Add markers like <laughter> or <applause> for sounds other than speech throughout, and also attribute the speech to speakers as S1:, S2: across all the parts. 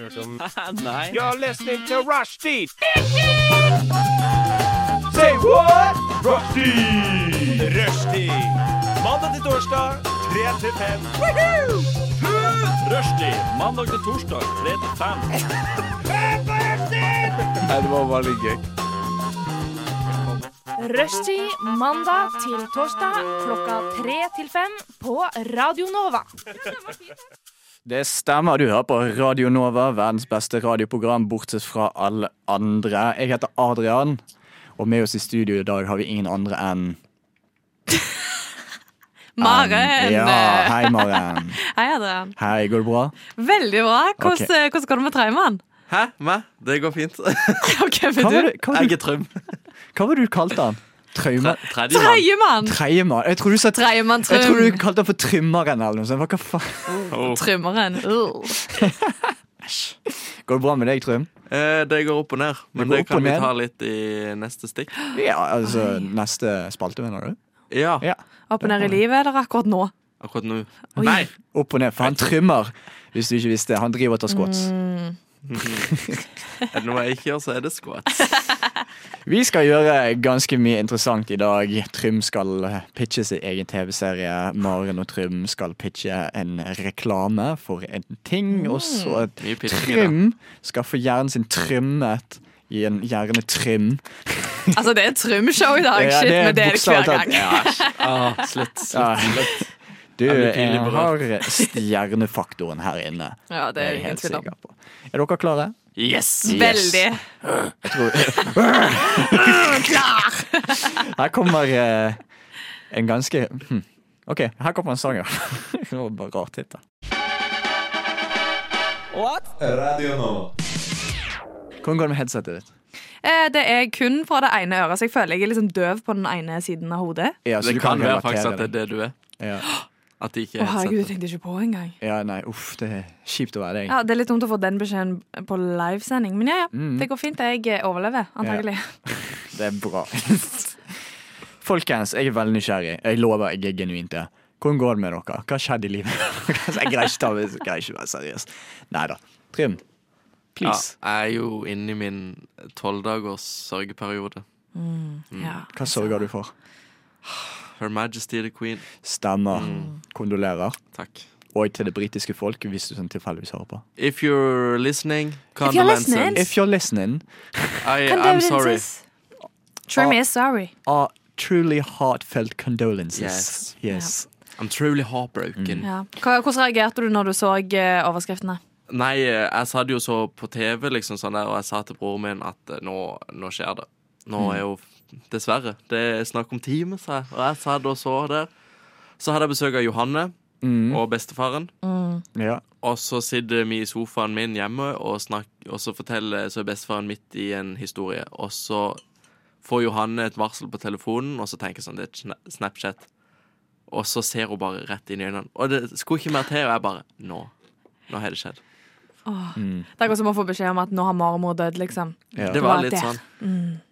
S1: hørt om
S2: Nei.
S1: You're listening to Rushdie! Say what? Rushdie! Rushdie. Mandag til torsdag, 3 til 5.
S2: Rushdie mandag til torsdag 3 til 5.
S3: Rushtid mandag til torsdag klokka tre til fem på Radio Nova.
S4: Det stemmer, du hører på Radio Nova, verdens beste radioprogram, bortsett fra alle andre. Jeg heter Adrian, og med oss i studio i dag har vi ingen andre enn
S5: Maren!
S4: Ja, hei, Maren.
S5: Hei, Adrian.
S4: Hei, går det bra?
S5: Veldig bra. Hvordan, eh, hvordan går det med traumen?
S2: Hæ? Meg? Det går fint.
S5: <laughs> Ok, men
S4: Hva
S5: du
S4: var det, hva var
S2: Jeg
S4: det,
S2: er Trym.
S4: hva var det du kalte han? Traume?
S2: Tredjemann.
S5: Treimann!
S4: Treimann? Jeg tror du sa tre...
S5: Treimann
S4: Jeg tror du
S5: Trym.
S4: kalte han for Trymmeren eller noe sånt. Hva- Hva faen?
S5: Trymmeren. Uh.
S4: Går det bra med deg, Trym?
S6: Eh, det går opp og ned, men
S4: går
S6: det,
S4: opp og
S6: kan vi
S4: ned.
S6: ta litt i neste stikk.
S4: Ja, altså, neste spalte, mener du?
S6: Ja,
S4: Ja.
S5: Opp og ned i livet eller akkurat nå?
S6: akkurat nå.
S5: Oi.
S6: Nei!
S4: Opp og ned, for han trymmer, hvis du ikke visste. Han driver og tar squats.
S6: Er det noe jeg ikke gjør, så er det squats.
S4: Vi skal gjøre ganske mye interessant i dag. Trym skal pitche sin egen TV-serie. Maren og Trym skal pitche en reklame for en ting.
S5: Mm.
S4: Og så at
S6: Mye pitching i dag.
S4: Trym skal få hjernen sin trymmet i en hjernetrim.
S5: Altså, det er Trym-show i dag.
S4: Ja,
S5: Shit, men det er det hver
S4: bokstavelig talt-
S5: gang.
S4: Ja,
S6: Ah, slutt.
S4: Ja. Du
S6: Jeg
S4: jeg
S6: blir pinlig
S4: har stjernefaktoren her inne.
S5: Ja, det
S4: Jeg
S5: er ingen
S4: helt
S5: tvil om.
S4: sikker på. Er dere klare?
S6: Yes!
S5: Veldig.
S4: Jeg tror Her kommer eh, en ganske hm. OK, her kommer en sang, ja. <laughs> Det var bare rart hit, da.
S7: Radio Nova.
S4: Hvordan går det med headsetet ditt?
S5: Eh, Det er kun fra det ene øret, så jeg føler jeg er liksom døv på den ene siden av hodet.
S4: Ja, så
S6: Det
S4: du
S6: kan være
S4: relatere
S6: faktisk at det er
S4: det.
S6: det du er.
S4: Ja.
S6: At de ikke
S5: Å,
S6: er
S5: herregud, jeg
S6: headsetet.
S5: tenkte ikke på engang.
S4: ja, nei, uff, det er kjipt å være deg.
S5: Ja, Det er litt dumt å få den beskjeden på livesending, men ja, ja.
S4: Mm.
S5: Det går fint. Jeg eh, overlever, antagelig.
S4: Det er bra. <laughs> Folkens, jeg er veldig nysgjerrig. Jeg lover, jeg er genuint det. Hvordan går det med dere? Hva har skjedd i livet? <laughs> jeg greier ikke, ta, jeg greier ikke være seriøs. Nei da. Trym,
S6: Ja,
S4: please.
S6: jeg er jo inne i min tolvdagers sørgeperiode.
S5: Ja.
S4: Hva sørger du for?
S6: Her Majesty the Queen.
S4: Stemmer.
S6: Mm.
S4: Kondolerer.
S6: Takk.
S4: Og til det britiske folk, hvis du sånn tilfeldigvis hører på.
S6: If you're listening,
S5: If you're
S6: condolences.
S5: listening.
S4: If you're listening,
S6: I am sorry.
S5: Condolences. Trim is sorry.
S4: are truly heartfelt condolences.
S6: Yes.
S4: Yes.
S6: I'm truly
S4: Mm.
S6: heartbroken.
S5: Ja. Hva- Hvordan reagerte du når du så eh, overskriftene?
S6: Nei, eh, jeg satt jo så på TV, liksom sånn der, og jeg sa til broren min at eh, nå, nå skjer det. Nå er jo Dessverre. Det er snakk om time, sa jeg. Og jeg satt og så der. Så hadde jeg besøk av Johanne og bestefaren.
S4: Ja.
S6: Og så sitter vi i sofaen min hjemme, og, snak, og så forteller så er bestefaren midt i en historie. Og så får Johanne et varsel på telefonen, og så tenker jeg sånn, det er et sna- Snapchat. Og så ser hun bare rett inn i øynene. Og det skulle ikke mer til, og jeg bare Nå. Nå har det skjedd.
S5: Det er akkurat som å få beskjed om at nå har marmor dødd, liksom.
S4: ja.
S6: Det
S5: var Mm.
S6: var litt
S5: der.
S6: sånn.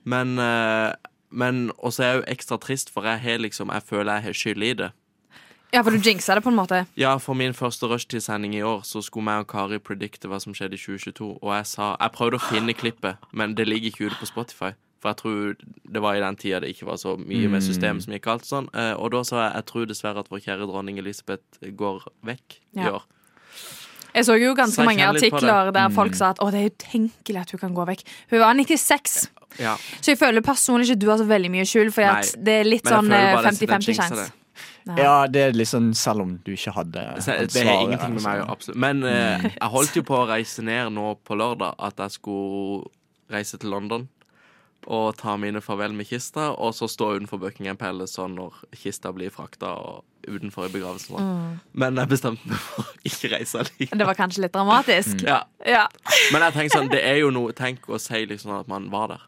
S6: Men, eh, men Og så er jeg jo ekstra trist, for jeg, har liksom, jeg føler jeg har skyld i det.
S5: Ja, for du jinxa det på en måte.
S6: Ja, for min første rushtidssending i år Så skulle meg og Kari predikte hva som skjedde i 2022, og jeg sa Jeg prøvde å finne klippet, men det ligger ikke ute på Spotify. For jeg tror det var i den tida det ikke var så mye med system som gikk alt sånn. Eh, og da sa jeg jeg tror dessverre at vår kjære dronning Elisabeth går vekk i
S5: Ja.
S6: år.
S5: Jeg så jo ganske
S6: Så jeg
S5: mange
S6: kjenner litt på Mm.
S5: artikler der folk sa at å, det er utenkelig at hun kan gå vekk. Hun var 96,
S6: Ja.
S5: så jeg føler personlig ikke du har så veldig mye skyld, for
S6: Nei.
S5: det er litt
S6: Men jeg
S5: sånn
S6: føler bare det- den
S5: 50-50
S6: jinxer
S5: sjanse.
S6: det.
S4: ja, det er liksom selv om du ikke hadde
S6: Så jeg- Det har
S4: svaret,
S6: ingenting med meg å
S4: altså.
S6: absolutt Men
S5: Mm.
S6: eh, jeg holdt jo på å reise ned nå på lørdag at jeg skulle reise til London og ta mine farvel med kista, og så stå utenfor Buckingham Palace sånn når kista blir frakta og utenfor i begravelsen. og
S5: Mm.
S6: sånn. Men jeg bestemte meg for å ikke reise
S5: <laughs>
S6: allikevel.
S5: Det var kanskje litt dramatisk.
S6: Ja.
S5: Ja.
S6: Men jeg tenker sånn, det er jo noe Tenk å si liksom at man var der.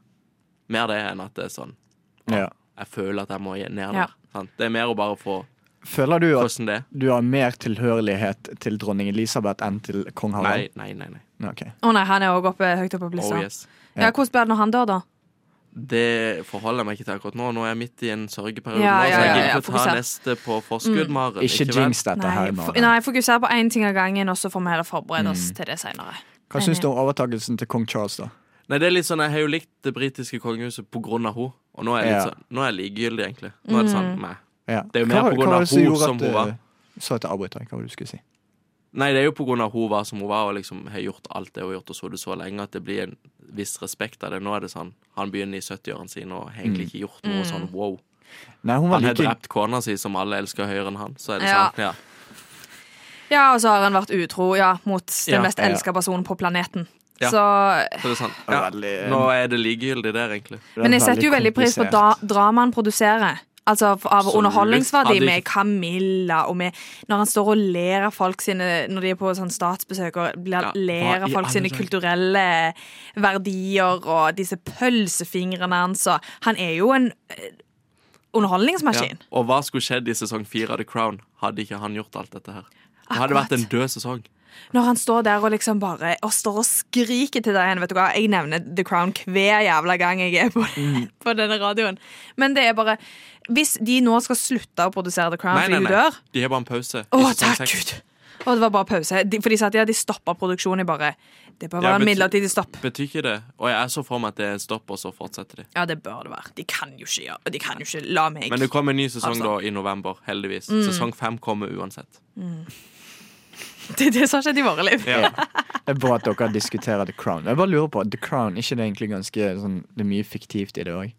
S6: Mer det enn at det er sånn
S4: Ja.
S6: Jeg føler at jeg må ned
S5: Ja.
S6: der. Sant? Det er mer å bare få
S4: Føler du at
S6: hvordan det er.
S4: du har mer tilhørighet til dronning Elisabeth enn til kong
S6: Nei,
S4: Harald?
S6: nei, nei. nei.
S4: Nei. ok.
S5: Å nei, han er òg oppe høyt oppe på
S6: Oh
S5: lista.
S6: yes.
S5: ja. hvordan blir det når han dør, da?
S6: Det forholder jeg meg ikke til akkurat nå. Nå er jeg midt i en sørgeperiode.
S5: Ja, ja,
S6: nå, så jeg
S5: ja,
S6: gidder
S5: ja, Mm.
S6: ikke å ta
S5: fokuser.
S6: neste på forskudd, Maren.
S4: Ikke
S6: vel?
S4: jinx dette
S5: Nei,
S4: her,
S5: fo-
S4: Maren.
S6: Mm.
S5: nei fokuser på én ting av gangen, og så får vi heller forberede oss til det seinere.
S4: Hva syns du om overtakelsen til kong Charles, da?
S6: Nei, det er litt sånn, Jeg har jo likt det britiske kongehuset på grunn av henne. Og nå er jeg,
S4: Ja.
S6: litt sånn, nå er jeg likegyldig, egentlig. Nå er det sånn,
S5: Mm.
S6: nei.
S4: Ja.
S6: Det er jo
S4: Hva
S6: mer
S4: var-
S6: på
S4: hva
S6: grunn
S4: var
S6: av
S4: det som
S6: hun
S4: gjorde
S6: som
S4: at,
S6: hun var.
S4: eh, Så at jeg avbryter deg. Hva var det du skulle si?
S6: Nei, det er jo på grunn av hun var som hun var, og liksom har gjort alt det hun har gjort og så det så lenge, at det blir en viss respekt av det. Nå er det sånn, han begynner i 70-årene sine og har
S4: Mm.
S6: egentlig ikke gjort
S5: Mm.
S6: noe sånn wow.
S4: Nei, hun var
S6: Han har
S4: like
S6: drept kona si, som alle elsker høyere enn han. Så er det
S5: Ja.
S6: sånn, ja.
S5: Ja, og så har han vært utro ja, mot den
S6: Ja,
S5: mest
S4: ja.
S5: elska personen på planeten.
S6: Ja.
S5: Så,
S6: Så det er sånn,
S4: Det var veldig, eh,
S6: ja. Nå er det likegyldig der, egentlig.
S5: men jeg setter jo veldig pris på da, dramaet han produserer. Altså f- Av
S6: Absolutt.
S5: underholdningsverdi
S6: Hadde ikke-
S5: med Camilla og med Når han står og ler av folk sine når de er på sånn statsbesøk og blir,
S6: Ja, hva
S5: ler av
S6: i
S5: folk
S6: alle
S5: sine
S6: dager?
S5: kulturelle verdier og disse pølsefingrene hans og Han er jo en eh,
S6: Ja.
S5: underholdningsmaskin.
S6: Og hva skulle skjedd i sesong fire av The Crown hadde ikke han gjort alt dette her? Det hadde
S5: Akkurat.
S6: vært en død sesong.
S5: Når han står der og liksom bare Og står og skriker til deg igjen, vet du hva Jeg nevner The Crown hver jævla gang jeg er på,
S6: Mm.
S5: <laughs> på denne radioen Men det er bare Hvis de nå skal slutte å produsere The Crown
S6: Nei, nei,
S5: Fordi hun
S6: nei.
S5: dør
S6: De har bare en pause.
S5: Å,
S6: i sesong
S5: takk
S6: seks.
S5: Gud Og det var bare pause de, For de sa at ja, de stoppet produksjonen Jeg bare Det bør
S6: Ja,
S5: være en
S6: bety-
S5: midlertidig stopp
S6: Betyr ikke det? Og jeg så for meg at det er en stopp, og så fortsetter de.
S5: Ja, det bør det være De kan jo ikke, gjøre- de kan jo ikke la meg
S6: Men det kom en ny sesong da
S5: Avstand.
S6: i november, heldigvis.
S5: Mm.
S6: Sesong fem kommer uansett.
S5: <laughs> Det, det sa ikke de i våre liv
S4: Ja. Det er bra at dere diskuterer The Crown. Jeg bare lurer på, The Crown, ikke det egentlig ganske sånn, Det er mye fiktivt i det òg?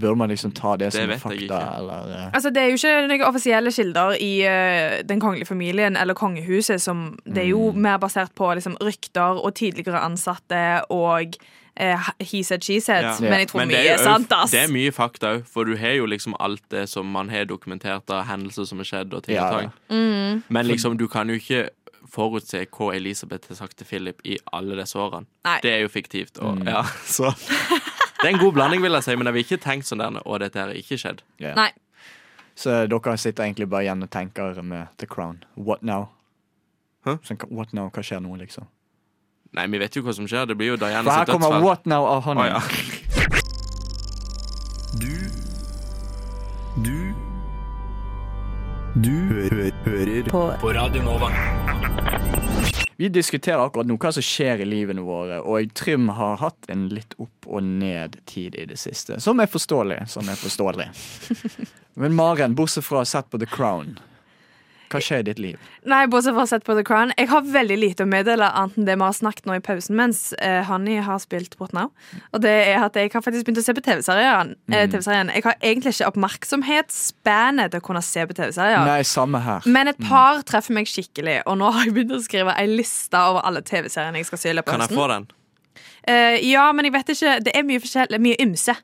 S4: Burde man liksom ta det, som
S6: vet jeg
S4: fakta,
S6: ikke.
S4: eller eh?
S5: Altså, Det er jo ikke noen offisielle kilder i eh, den kongelige familien eller kongehuset. som Det er
S6: Mm.
S5: jo mer basert på liksom, rykter og tidligere ansatte og eh, he said, she said.
S6: Ja.
S5: Men jeg tror
S6: Men det
S5: mye
S6: er,
S5: er
S6: jo-
S5: sant, ass.
S6: det er mye fakta òg, for du har jo liksom alt det som man har dokumentert av hendelser som har skjedd, og ting og
S4: Ja,
S6: tang.
S5: Mm.
S6: Men liksom, du kan jo ikke forutse hva Elisabeth har sagt til Philip i alle disse årene.
S5: Nei.
S6: Det er jo fiktivt. Og,
S4: Mm.
S6: ja, <laughs> så. Det er en god blanding, vil jeg si, men jeg vil ikke tenke sånn der Å, dette her har ikke skjedd.
S4: Ja.
S5: Nei.
S4: Så dere sitter egentlig bare igjen og tenker med The Crown. What now? Sånn, hva- what now? Hva skjer nå, liksom?
S6: Nei, vi vet jo hva som skjer. Det blir jo Diana
S4: For her
S6: sitt
S4: kommer
S6: dødsfall.
S4: What now av han.
S6: Å, ja.
S4: Vi diskuterer akkurat nå hva som skjer i livene våre, og Trym har hatt en litt opp og ned-tid i det siste. Som er forståelig. Som er forståelig. Men Maren, bortsett fra å ha sett på The Crown, hva skjer i ditt liv?
S5: Nei, bortsett fra å ha sett på The Crown. Jeg har veldig lite å meddele annet enn det vi har snakket nå i pausen mens eh, Hanni har spilt What Now. Og det er at jeg har faktisk begynt å se på TV-serien.
S6: Mm.
S5: eh, TV-serien. Jeg har egentlig ikke oppmerksomhetsspanet til å kunne se på TV-serier.
S4: Nei, samme her.
S5: Men et par treffer meg skikkelig, og nå har jeg begynt å skrive ei liste over alle TV-seriene jeg skal se i løpet av
S6: Kan jeg
S5: høsten.
S6: få den?
S5: Eh, ja, men jeg vet ikke, det er mye forskjellig, mye ymse.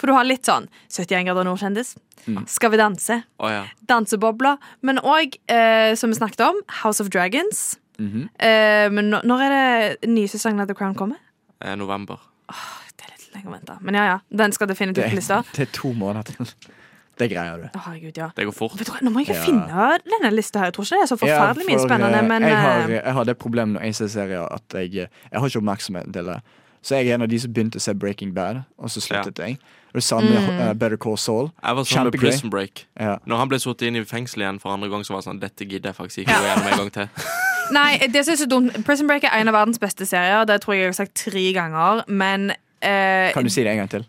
S5: For du har litt sånn 71 grader nord-kjendis,
S4: Mm.
S5: Skal vi danse,
S6: Å ja.
S5: Dansebobla, men òg, eh, som vi snakket om, House of Dragons.
S4: Mhm.
S5: Eh, men nå, når er det nye sesongen av The Crown kommer?
S6: Eh, November.
S5: Det er litt lenger å vente, men ja ja. Den skal definitivt på
S4: det,
S5: lista.
S4: det er to måneder til. Det greier du.
S5: Å, herregud, ja.
S6: Det går fort.
S5: Vet du hva, Nå må jeg jo
S4: Ja.
S5: finne denne lista her. Jeg tror ikke det er så forferdelig
S4: Ja,
S5: mye
S4: for,
S5: spennende,
S4: eh,
S5: men
S4: jeg har,
S5: eh,
S4: jeg har det problemet når jeg ser serier at jeg, eh, jeg har ikke oppmerksomhet til det. Så jeg er en av de som begynte å se Breaking Bad, og så sluttet jeg. Og det samme
S5: Mm.
S4: med eh, Better Call Saul.
S6: Jeg var sånn med
S4: Kjempegøy.
S6: Prison Break.
S4: Ja.
S6: Når han ble sittet inn i fengsel igjen for andre gang, så var jeg sånn Dette gidder jeg faktisk ikke gå gjennom en gang til.
S5: Nei, det synes jeg er dumt. Prison Break er en av verdens beste serier. Det tror jeg jeg har sagt tre ganger. Men eh,
S4: Kan du si det en gang til?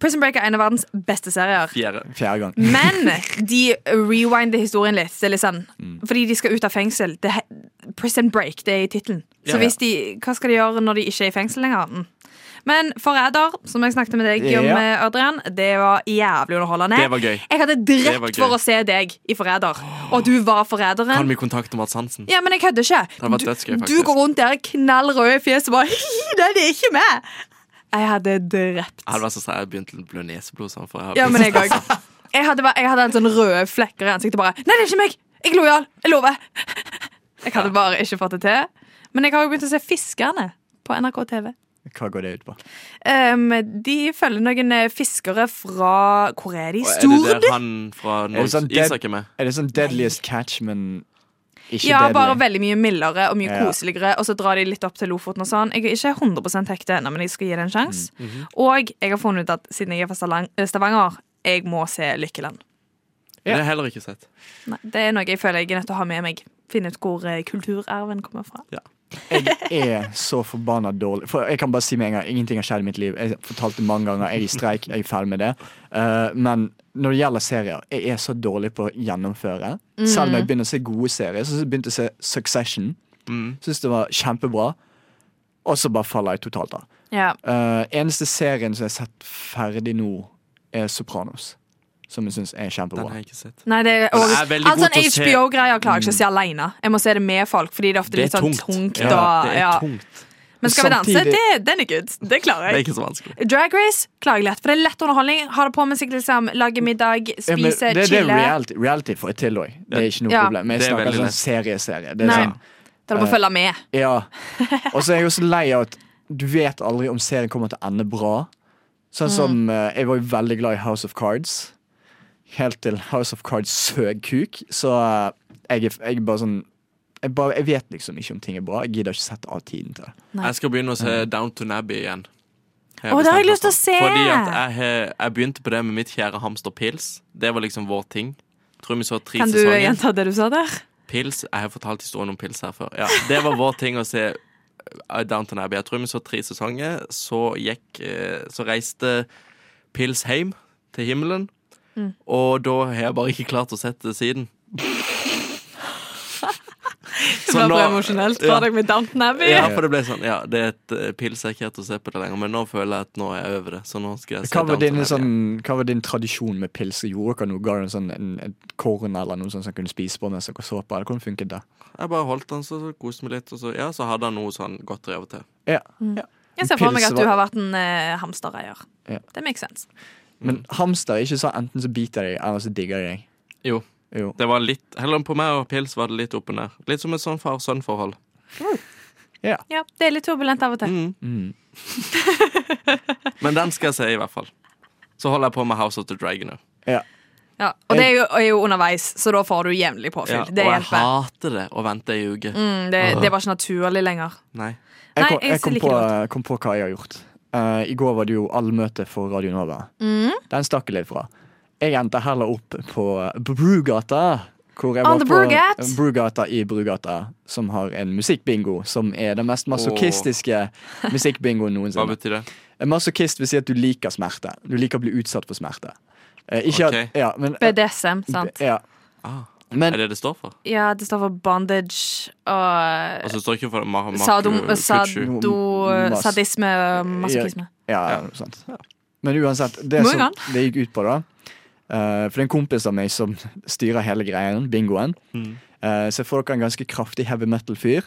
S5: Prison Break er en av verdens beste serier.
S6: Fjerde.
S4: Fjerde gang.
S5: Men de rewinder historien litt. Det er litt sånn,
S6: Mm.
S5: Fordi de skal ut av fengsel. Det, he- prison Break det er i tittelen. Så
S6: Ja.
S5: hvis de, hva skal de gjøre når de ikke er i fengsel lenger? Mm. Men Forræder, som jeg snakket med deg om,
S4: Ja.
S5: eh, Adrian, det var jævlig underholdende.
S6: Det var gøy.
S5: Jeg hadde
S6: var
S5: drept
S6: gøy.
S5: for å se deg i Forræder, og du var forræderen.
S6: Kan vi kontakte Mads Hansen?
S5: Ja, men jeg kødder ikke.
S6: var dødsgøy,
S5: du,
S6: faktisk.
S5: du går rundt der knallrød i fjeset og bare <laughs> Nei, det er ikke meg! Jeg hadde drept.
S6: Jeg hadde vært så streng, jeg begynte å blø neseblod. Sånn, for jeg
S5: Ja, men jeg òg.
S6: <laughs>
S5: Jeg hadde, bare- jeg hadde en sånn røde flekker i ansiktet bare Nei, det er ikke meg! Jeg er lojal! Jeg lover! Jeg hadde bare ikke fått det til. Men jeg har jo begynt å se Fiskerne på NRK TV.
S4: Hva går det ut på?
S5: Ehm, de følger noen eh, fiskere fra Hvor er de?
S6: Er
S5: Stord?
S6: det der han fra
S4: Er det
S6: Norges
S4: sånn, dead,
S6: Isak er med?
S4: er det sånn Deadliest Catch, men ikke
S5: Ja, bare
S4: deadly?
S5: veldig mye mildere og mye
S4: Ja.
S5: koseligere. Og så drar de litt opp til Lofoten og sånn. Jeg er ikke 100 hekte ennå, men jeg skal gi det en sjanse. Og jeg har funnet ut at siden jeg er fra Stalang- eh, Stavanger, jeg må se Lykkeland.
S6: Det har jeg heller ikke sett.
S5: Nei, det er noe jeg føler jeg er nødt til å ha med meg. finne ut hvor eh, kulturarven kommer fra.
S4: Jeg er så forbanna dårlig. For jeg kan bare si med en gang Ingenting har skjedd i mitt liv. Jeg fortalte mange ganger jeg er i streik, jeg er ferdig med det. Eh, men når det gjelder serier, jeg er så dårlig på å gjennomføre. Selv når jeg begynner å se gode serier. Så begynte jeg å se Succession.
S6: Mm.
S4: Syns det var kjempebra. Og så bare faller jeg totalt av.
S5: Ja.
S4: Eh, eneste serien som jeg har sett ferdig nå, er Sopranos. Som jeg syns er
S6: Den
S4: kjempebra.
S6: har jeg ikke sett.
S5: Nei, det er,
S6: Men
S5: og,
S6: det er veldig
S5: altså,
S6: godt å se-
S5: HBO-greier klarer jeg ikke å se alene. Jeg må se det med folk, fordi det er ofte
S6: Det er
S5: litt sånn
S6: tungt.
S5: tungt.
S6: Ja,
S5: og,
S6: det er
S5: ja.
S6: tungt.
S5: Men skal vi danse?
S4: Samtidig-
S5: Det, den er good. Det
S6: Det
S5: klarer
S6: er
S5: jeg.
S6: ikke så vanskelig.
S5: Drag Race klarer jeg lett, for det er lett underholdning. Ha det på med seg, liksom. Lage middag,
S4: Ja, men
S5: spise,
S4: det, det er
S5: chille.
S4: reality, reality får jeg til òg. Det er ikke noe
S5: Ja.
S4: problem. Men jeg
S6: Det er
S4: snakker
S6: veldig
S4: sånn
S6: lett.
S4: serieserie. Det er
S5: Nei.
S4: sånn
S5: Det er bare å følge med.
S4: Ja. Og så er jeg også lei av at du vet aldri om serien kommer til å ende bra. Sånn som eh, Jeg var jo veldig glad i House of Cards. Helt til House of Cards søg kuk. Så eh, jeg, er- jeg er bare sånn jeg, bare, jeg vet liksom ikke om ting er bra. Jeg gidder ikke sette av tiden til det.
S5: Nei.
S6: Jeg skal begynne å se Downton Abbey igjen.
S5: Å, det har jeg lyst til å se!
S6: Fordi at jeg, har- jeg begynte på det med mitt kjære hamster Pils. Det var liksom vår ting. Tror vi så tre
S5: Kan du
S6: sesonger.
S5: gjenta det du sa der?
S6: Pils, Jeg har fortalt historien om pils her før. Ja, det var vår ting å se eh, Downton Abbey. Jeg tror vi så tre sesonger. Så gikk eh, Så reiste Pils hjem til himmelen.
S5: Mm.
S6: Og da har jeg bare ikke klart å sette
S5: <laughs>
S6: det siden.
S5: Det var bare emosjonelt for
S6: ja.
S5: deg med Downton Abbey.
S6: Ja, for det ble sånn Ja, det er et eh, pils jeg ikke helt å se på det lenger, men nå føler jeg at nå er jeg over det. Så nå skal jeg se
S4: Hva var, din,
S6: Downton Abbey.
S4: sånn, hva var din tradisjon med pils? Gjorde dere noe? Ga dere en sånn, en, et korn eller noe sånt som kunne spise på mens dere så på? Eller hvordan funket det?
S6: Jeg bare holdt den, så, så koste meg litt, og så, ja, så hadde han noe sånn godteri av og til.
S4: Ja, ja.
S5: Jeg ser for meg at
S4: Pils
S5: du
S4: var-
S5: har vært en eh, hamstereier.
S4: Ja.
S5: Det makes sense.
S4: Men hamster er ikke sånn enten så biter de, eller så digger de deg.
S6: Jo.
S4: Jo.
S6: Det var litt, heller På meg og pils var det litt opp og ned. Litt som et sånn far-sønn-forhold.
S5: Ja, det er litt turbulent av og til.
S6: Mm.
S4: Mm.
S6: Men den skal jeg se, i hvert fall. Så holder jeg på med House of the Dragon òg.
S5: Ja. Og det er jo, er jo underveis, så da får du jevnlig påfyll.
S6: Ja, og
S5: det
S6: jeg
S5: hjelper.
S6: hater det å vente ei uke.
S5: Mm, det, det var ikke naturlig lenger.
S6: Nei.
S4: Jeg
S5: Nei,
S4: kom,
S5: jeg
S4: jeg kom,
S5: liker
S4: på,
S5: det
S4: kom på hva jeg har gjort. Eh, I går var det jo allmøte for Radio Nova.
S5: Mm.
S4: Den stakk jeg litt fra. Jeg endte heller opp på Brugata. Hvor jeg
S5: On
S4: var
S5: the
S4: på
S5: Brugata?
S4: Brugata i Brugata, som har en musikkbingo som er den mest masochistiske musikkbingoen
S6: Hva
S4: noensinne.
S6: betyr det?
S4: En masochist vil si at du liker smerte. Du liker å bli utsatt for smerte. Eh, ikke
S6: Ok.
S4: at, ja, men,
S5: BDSM, sant?
S4: ja.
S6: Ah,
S4: Men
S6: er det det står for?
S5: Ja, det står for bondage og
S6: Altså, det står ikke for ma ma
S5: sadom,
S6: kutsju.
S5: sado,
S4: Mas-
S5: sadisme og masochisme.
S4: Ja,
S6: Ja.
S4: noe sånt. Men uansett, det,
S5: Må jo
S4: som,
S5: han.
S4: det gikk ut på da eh, For det er en kompis av meg som styrer hele greien, bingoen.
S6: Mm.
S4: Eh, så jeg får dere en ganske kraftig heavy metal-fyr.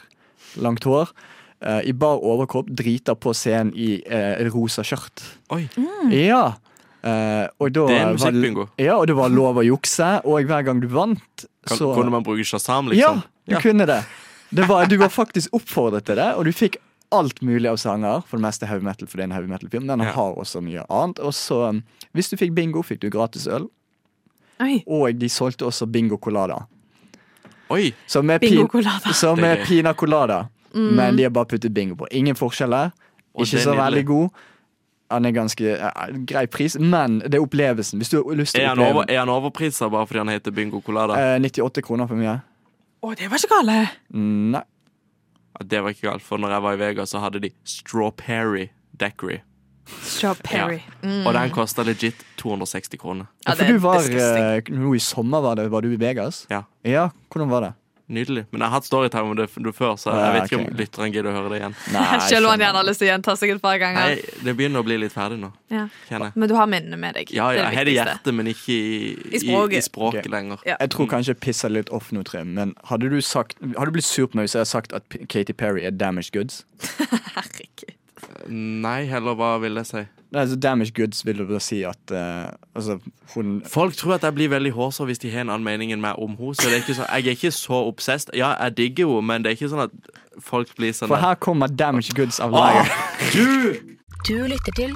S4: Langt hår. eh, I bar overkropp, driter på scenen i eh, rosa skjørt.
S6: Oi.
S4: Ja! Eh, og da
S6: Det er en
S4: var-
S6: musikkbingo.
S4: Ja, og det var lov å jukse, og hver gang du vant,
S6: Kan,
S4: så
S6: Kunne man bruke
S4: ja,
S6: Shazam, liksom?
S4: du kunne
S6: <laughs>
S4: det. det var, du var faktisk oppfordret til det, og du fikk alt mulig av sanger. For det meste heavy metal, for det er en heavy metal-film, men han
S6: Ja.
S4: har også mye annet. Og så, um, hvis du fikk bingo, fikk du gratis øl,
S5: Oi.
S4: og de solgte også bingo colada.
S6: Oi!
S4: Som er,
S5: Bingo
S4: pin,
S5: colada. Mm.
S4: som
S6: Det er
S4: er
S6: gøy.
S4: pina colada, men de har bare puttet bingo på. Ingen forskjeller.
S6: Og
S4: Ikke
S6: det er
S4: så
S6: nydelig.
S4: veldig god. Han er ganske eh, grei pris, men det er opplevelsen. Hvis du har lyst til
S6: Er
S4: å
S6: han, over,
S4: oppleve
S6: er han overprisa bare fordi han heter Bingo Colada?
S4: eh, 98 kroner for mye.
S5: Å, det var ikke gale!
S4: Nei.
S6: Ja, Det var ikke galt, for når jeg var i Vega, så hadde de Strawberry Daiquiri.
S5: Straw Perry. Mm.
S6: Og den kosta legit 260 kroner.
S5: Ja,
S4: for
S5: det er
S4: du var eh,
S5: disgusting.
S4: nå i sommer, var, det, var du i Vegas?
S6: Ja.
S4: Ja, hvordan var det?
S6: Nydelig. Men jeg har hatt storytime om det f- det før, så jeg
S4: Ja,
S6: vet ikke
S4: Ah, ok.
S6: om lytteren gidder å høre det igjen.
S5: Selv om han gjerne har lyst til å gjenta seg et par
S6: Nei,
S5: ganger.
S6: Det begynner å bli litt ferdig nå,
S5: Ja.
S6: kjenner jeg.
S5: Men du har minnene med deg.
S6: Ja, ja, jeg har det i
S5: viktigste.
S6: hjertet, men ikke i,
S5: I språket.
S6: i, i språket
S4: Ok.
S6: lenger.
S5: Ja.
S4: Jeg tror kanskje jeg pisser litt off nå, Trym, men hadde du, sagt, hadde du blitt sur på meg hvis jeg hadde sagt at P- Katy Perry er damaged goods?
S5: Herregud.
S6: Nei, heller hva vil jeg si?
S4: Nei, altså Damaged goods vil du bare si at eh, Altså, hun
S6: Folk tror at jeg blir veldig hårsår hvis de har en annen mening enn meg om henne. Så det er ikke sånn, jeg er ikke så obsessed. Ja, jeg digger henne, men det er ikke sånn at folk blir sånn
S4: For her kommer damaged goods av liar.
S6: Du!
S8: Du lytter til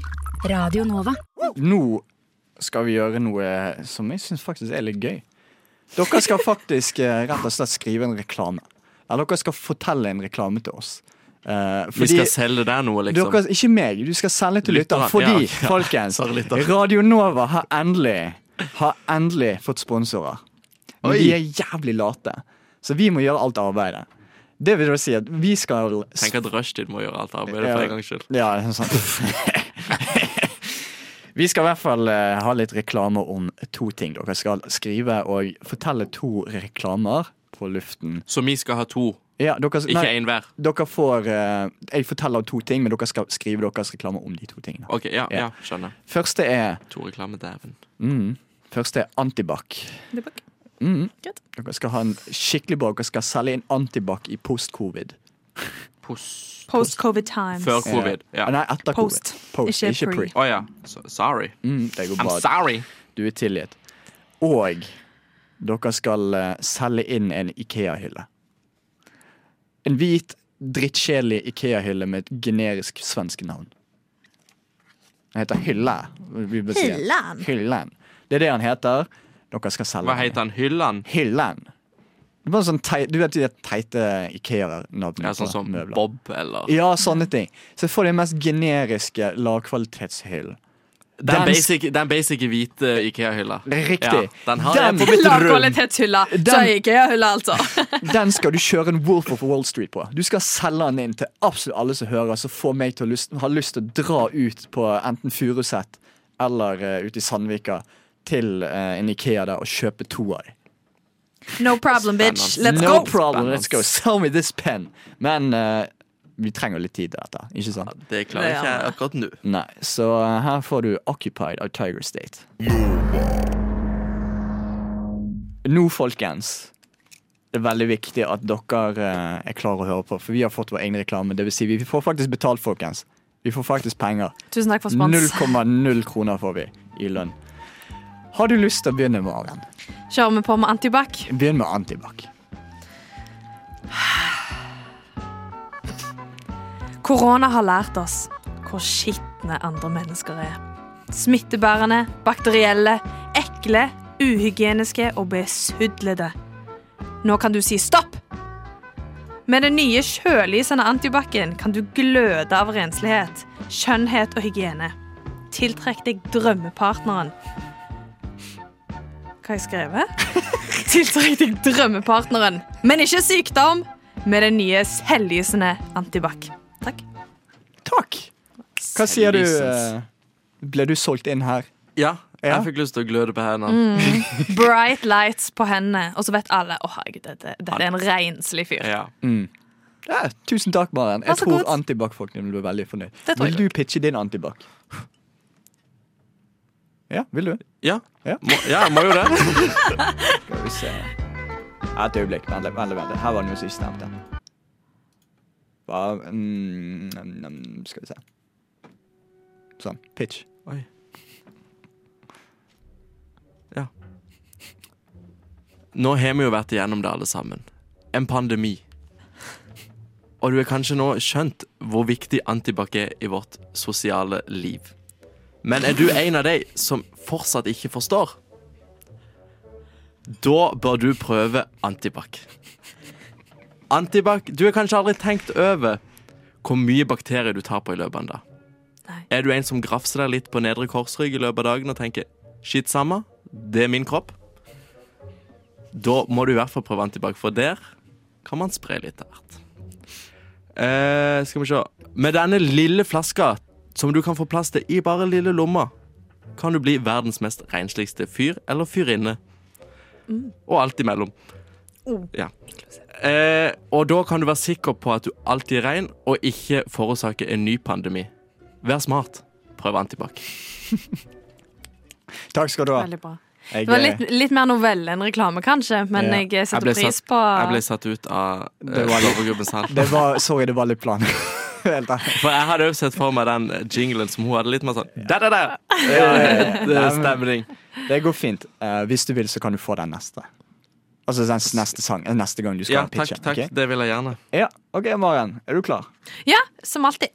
S8: Radio Nova.
S4: Nå skal vi gjøre noe som jeg syns faktisk er litt gøy. Dere skal faktisk eh, rett og slett skrive en reklame. Eller dere skal fortelle en reklame til oss. Eh,
S6: Vi
S4: fordi-
S6: skal selge deg noe, liksom.
S4: Dere, ikke meg, du skal selge til lytterne.
S6: Lytterne,
S4: Fordi,
S6: ja, ja.
S4: folkens,
S6: Sorry, lytter.
S4: Radio Nova har endelig, har endelig fått sponsorer. Men
S6: Oi.
S4: de er jævlig late. Så vi må gjøre alt arbeidet. Det vil da si at vi skal
S6: Tenk at rushtid må gjøre alt arbeidet for en gangs skyld.
S4: Ja, det er sant. <laughs> Vi skal i hvert fall eh, ha litt reklame om to ting. Dere skal skrive og fortelle to reklamer på luften.
S6: Så vi skal ha to,
S4: Ja, dere,
S6: ikke én hver.
S4: dere får eh, Jeg forteller om to ting, men dere skal skrive deres reklame om de to tingene.
S6: OK, ja,
S4: Ja.
S6: ja skjønner.
S4: Første er,
S6: To reklame, dæven.
S4: mm, første er Antibac.
S5: Antibac.
S4: Mm.
S5: Good.
S4: Dere skal ha en skikkelig bra Dere skal selge inn Antibac i post-covid.
S6: Post.
S5: Post COVID times.
S6: Før covid.
S4: Eh,
S6: Ja. Å
S4: Nei, etter
S5: Post.
S4: covid. Post,
S5: Ikke
S4: ikke, pre.
S5: pre.
S6: ja. So, sorry.
S4: Mm, det går
S6: I'm
S4: bra.
S6: sorry.
S4: Du er tilgitt. Og dere skal eh, selge inn en Ikea-hylle. En hvit, drittkjedelig Ikea-hylle med et generisk svensk navn. Den heter Hylle. vi bør si.
S5: Hyllan.
S4: Hyllan. Det er det han heter. Dere skal selge
S6: Hva
S4: den.
S6: heter han? Hyllan?
S4: Hyllan. Det er bare sånn tei, du vet de teite Ikea-navnene
S6: Ja, sånn
S4: på
S6: som
S4: møbler.
S6: Bob, eller
S4: Ja, sånne ting. Så få den mest generiske lavkvalitetshyllen.
S6: Den
S4: Den-
S6: basic, den basic hvite Ikea-hylla.
S4: Riktig.
S6: Ja, den har
S4: Den-
S6: jeg på mitt rom.
S5: Lavkvalitetshylla. Så
S4: Den-
S5: er IKEA-hylla,
S4: <laughs>
S5: altså.
S4: Den skal du kjøre en Wolf of Wall Street på. Du skal selge den inn til absolutt alle som hører, som får meg til å lyst, ha lyst til å dra ut på enten Furuset eller eh, ute i Sandvika til eh, en Ikea der og kjøpe to av dem.
S5: No problem, bitch. Let's
S4: No
S5: go.
S4: problem, let's go. Sell me this pen. Men eh, vi trenger litt tid til dette, ikke sant?
S6: Det klarer ikke jeg akkurat nå.
S4: Nei, så eh, her får du Occupied av Tiger State. Nå, folkens. Det er veldig viktig at dere eh, er klare å høre på, for vi har fått vår egen reklame. Det vil si, vi får faktisk betalt, folkens. Vi får faktisk penger.
S5: Tusen takk for spons.
S4: 0,0 kroner får vi i lønn. Har du lyst til å begynne, Maren?
S5: Kjører vi på med antibac?
S4: Begynn med antibac.
S5: Korona har lært oss hvor skitne andre mennesker er. Smittebærende, bakterielle, ekle, uhygieniske og besudlede. Nå kan du si stopp! Med den nye kjølisende antibac-en kan du gløde av renslighet, skjønnhet og hygiene. Tiltrekk deg drømmepartneren. Hva har jeg skrevet? Tiltrekk deg drømmepartneren, men ikke sykdom, med den nye selvlysende antibac. Takk.
S4: Takk! Hva sier du?
S6: Selvlysens.
S4: eh, Ble du solgt inn her? Ja.
S6: Ja,
S4: Mm.
S6: jeg fikk lyst til å gløde på hendene.
S5: Bright lights på hendene, og så vet alle Å herregud, dette, dette er en renslig fyr.
S6: Ja.
S4: Ja, tusen takk, Maren.
S5: Vær
S4: Jeg
S5: så
S4: tror
S5: god.
S4: antibac-folkene blir veldig fornøyd.
S5: Det tror jeg
S4: Vil du pitche din antibac? Ja, vil du?
S6: Ja.
S4: Ja.
S6: Må, ja, jeg må jo det.
S4: Skal vi se Et øyeblikk. Vent litt. vent litt, vent litt. Her var det noe som ikke stemte. Hva mm, mm, mm, Skal vi se. Sånn. Pitch.
S6: Oi. Ja. Nå har vi jo vært igjennom det alle sammen. En pandemi. Og du har kanskje nå skjønt hvor viktig antibac er i vårt sosiale liv. Men er du en av de som fortsatt ikke forstår? Da bør du prøve antibac. Antibac Du har kanskje aldri tenkt over hvor mye bakterier du tar på i løpet av en dag. Er du en som grafser deg litt på nedre korsrygg i løpet av dagen og tenker Shit, samme, det er min kropp? Da må du i hvert fall prøve antibac, for der kan man spre litt av hvert. Eh, skal vi se Med denne lille flaska, som du kan få plass til i bare lille lomma, kan du bli verdens mest rensligste fyr eller fyrinne. Og alt imellom. Ja. Eh, og da kan du være sikker på at du alltid er ren, og ikke forårsaker en ny pandemi. Vær smart. Prøv antibac.
S4: Takk skal du ha.
S5: Veldig bra.
S4: Jeg, eh,
S5: Det var litt, litt mer novelle enn reklame, kanskje, men
S4: Ja.
S5: jeg setter pris på
S6: jeg ble satt ut av
S4: Det var litt-
S6: Lovergruppens
S4: eh,
S6: hall.
S4: det var, sorry, det var litt plan. <laughs> Helt ærlig.
S6: For jeg hadde også sett for meg den eh, jinglen som hun hadde litt mer sånn da, da, da.
S4: ja.
S6: Stemning.
S4: Det går fint. Eh, hvis du vil, så kan du få den neste. Altså den s- neste sang. eh, Neste gang du skal
S6: Ja,
S4: ha
S6: takk,
S4: pitchen.
S6: takk.
S4: ok?
S6: Det vil jeg gjerne.
S4: Ja, OK, Maren. Er du klar?
S5: Ja, som alltid.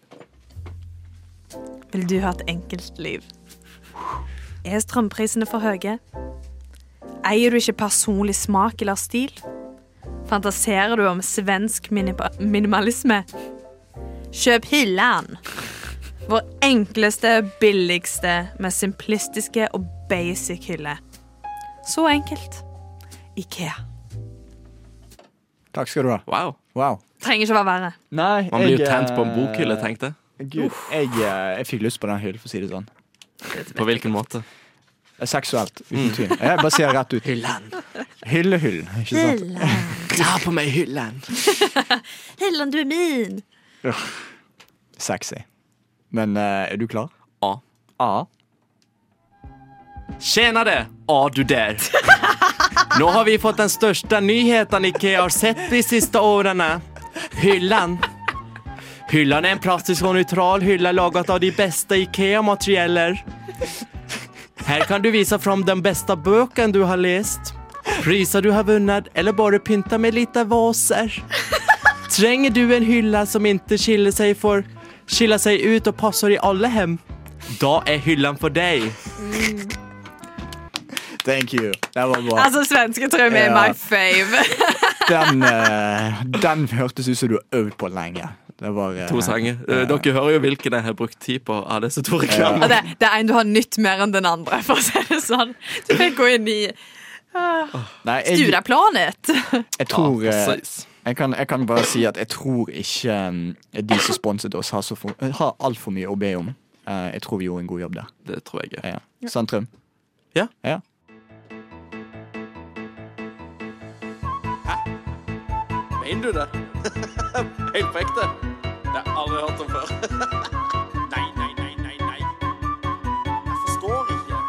S5: Vil du ha et enkelt liv? Er strømprisene for høye? Eier du ikke personlig smak eller stil? Fantaserer du om svensk minipa- minimalisme? Kjøp Hyllan. Vår enkleste, billigste, mest simplistiske og basic hylle. Så enkelt. Ikea.
S4: Takk skal du ha.
S6: Wow.
S4: Wow.
S5: Trenger ikke å være verre.
S4: Nei,
S6: Man blir jo
S4: jeg,
S6: tent på en
S4: eh,
S6: bokhylle, tenk det.
S4: Gud, jeg, eh, jeg fikk lyst på den hyllen, for å si det sånn.
S6: På hvilken måte?
S4: Eh, Seksuelt, uten
S6: Mm.
S4: tvil. Jeg bare ser rett ut.
S6: Hyllen.
S4: Hyllehyllen, ikke sant?
S6: Ta på meg hyllen.
S5: Helland, du er min!
S4: Sexy. Men eh, er du klar?
S6: Ja.
S4: A.
S6: Tjena det! Ja, du der. Nå har vi fått den största nyheten IKEA har sett de sista åren. Hyllan. Hyllan är en plastisk och neutral hylla lagat av de bästa IKEA-materialer. Här kan du visa fram den bästa böken du har läst, priser du har vunnit eller bara pynta med lite vaser. Tränger du en hylla som inte skiljer sig, får skilja sig ut och passar i alla hem, då är hyllan för dig.
S4: Thank you. Det var bra.
S5: Altså, svenske tror jeg vi er
S4: Ja.
S5: my fave.
S4: Den, eh, den hørtes ut som du har øvd på lenge. Det var eh,
S6: To sanger. Eh, Dere hører jo hvilken jeg har brukt tid på av disse to reklamene.
S5: Og det, det er en du har nytt mer enn den andre, for å si det sånn. Du fikk gå inn i
S4: Nei, jeg,
S5: Duraplanet.
S4: jeg tror
S6: Ja, altså-
S4: eh,
S6: precis.
S4: jeg kan, jeg kan bare si at jeg tror ikke eh, de som sponset oss, har, så for- har altfor mye å be om. Eh, jeg tror vi gjorde en god jobb der.
S6: Det tror jeg. er.
S4: Ja. Sant, Trym?
S6: Ja.
S4: ja.
S6: Mener du det? <laughs> Helt på ekte? Det har jeg aldri hørt om før. <laughs> nei, nei, nei, nei, nei. Jeg forstår ikke.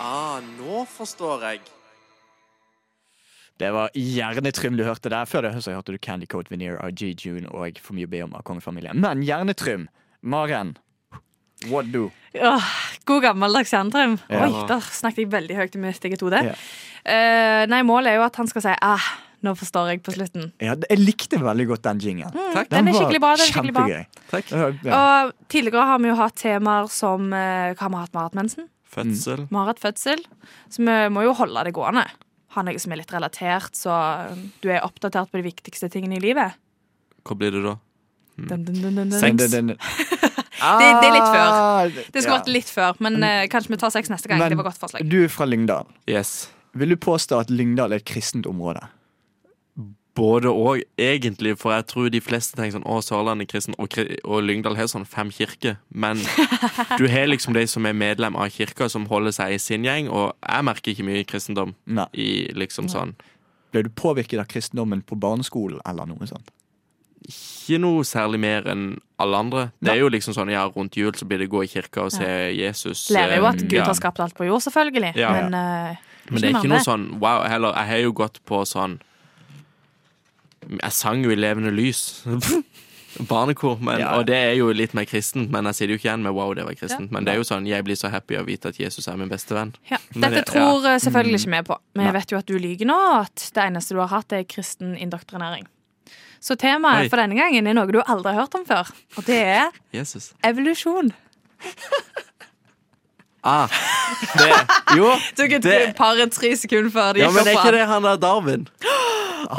S6: Ah, nå forstår jeg.
S4: Det var gjerne Trym du hørte der. Før det så hørte du Candy Coat Veneer av G. June og For mye å be om av kongefamilien. Men gjerne Trym. Maren. What do?
S5: Åh, god gammeldags Sandrum.
S4: Ja.
S5: Oi, der snakket jeg veldig høyt i mitt eget hode.
S4: Ja.
S5: Eh, nei, målet er jo at han skal si ah, nå forstår jeg på slutten.
S4: Ja, jeg likte veldig godt den jingen.
S6: Takk.
S5: Den er skikkelig bra. Den er skikkelig bra.
S4: kjempegøy.
S6: Takk.
S4: Ja.
S5: Og tidligere har vi jo hatt temaer som eh, Hva har vi hatt Marit Mensen?
S6: Fødsel.
S5: Vi har hatt fødsel, så vi må jo holde det gående. Ha noe som er litt relatert, så du er oppdatert på de viktigste tingene i livet.
S6: Hva blir det da?
S5: Dun, dun, dun, dun, dun.
S4: Mm. Den- den- den-
S5: det er litt før.
S4: Ah,
S5: Det skulle
S4: ja.
S5: vært litt før, men eh, kanskje vi tar sex neste gang.
S4: Men
S5: det var godt forslag.
S4: Du er fra Lyngdal.
S6: Yes.
S4: Vil du påstå at Lyngdal er et kristent område?
S6: Både og, egentlig, for jeg tror de fleste tenker sånn Å, Sørlandet er kristen, og, kri- og Lyngdal har sånn fem kirker.
S5: <laughs>
S6: Men du har liksom de som er medlem av kirka, som holder seg i sin gjeng, og jeg merker ikke mye kristendom
S4: Nei.
S6: i liksom sånn
S4: Ble du påvirket av kristendommen på barneskolen eller noe sånt?
S6: Ikke noe særlig mer enn alle andre. Det
S4: Nei.
S6: er jo liksom sånn ja, rundt jul så blir det gå i kirka og se Jesus.
S5: Lærer jo
S6: eh,
S5: at Gud
S6: ja.
S5: har skapt alt på jord, selvfølgelig.
S6: Ja.
S5: Men, eh,
S6: Men det er ikke
S5: mange.
S6: noe sånn wow heller. Jeg har jo gått på sånn Jeg sang jo i levende lys. <laughs> Barnekor. Men,
S4: Ja.
S6: Og det er jo litt mer kristent, men jeg sier det jo ikke igjen med wow, det var kristent. Men det er jo sånn, jeg blir så happy av å vite at Jesus er min beste venn.
S5: Ja.
S6: Men
S5: Dette
S6: det- Mm.
S5: tror eh, selvfølgelig ikke vi på. Vi vet jo at du lyver nå, at det eneste du har hatt, er kristen indoktrinering. Så temaet
S6: Oi.
S5: for denne gangen er noe du aldri har hørt om før, og det er
S6: Jesus.
S5: evolusjon.
S6: Ah, det, jo,
S5: Tok et
S6: Det-
S5: par-tre sekunder før det
S6: ja, men
S5: gikk
S6: er
S5: opp
S6: ikke
S5: for
S6: det han der Darwin?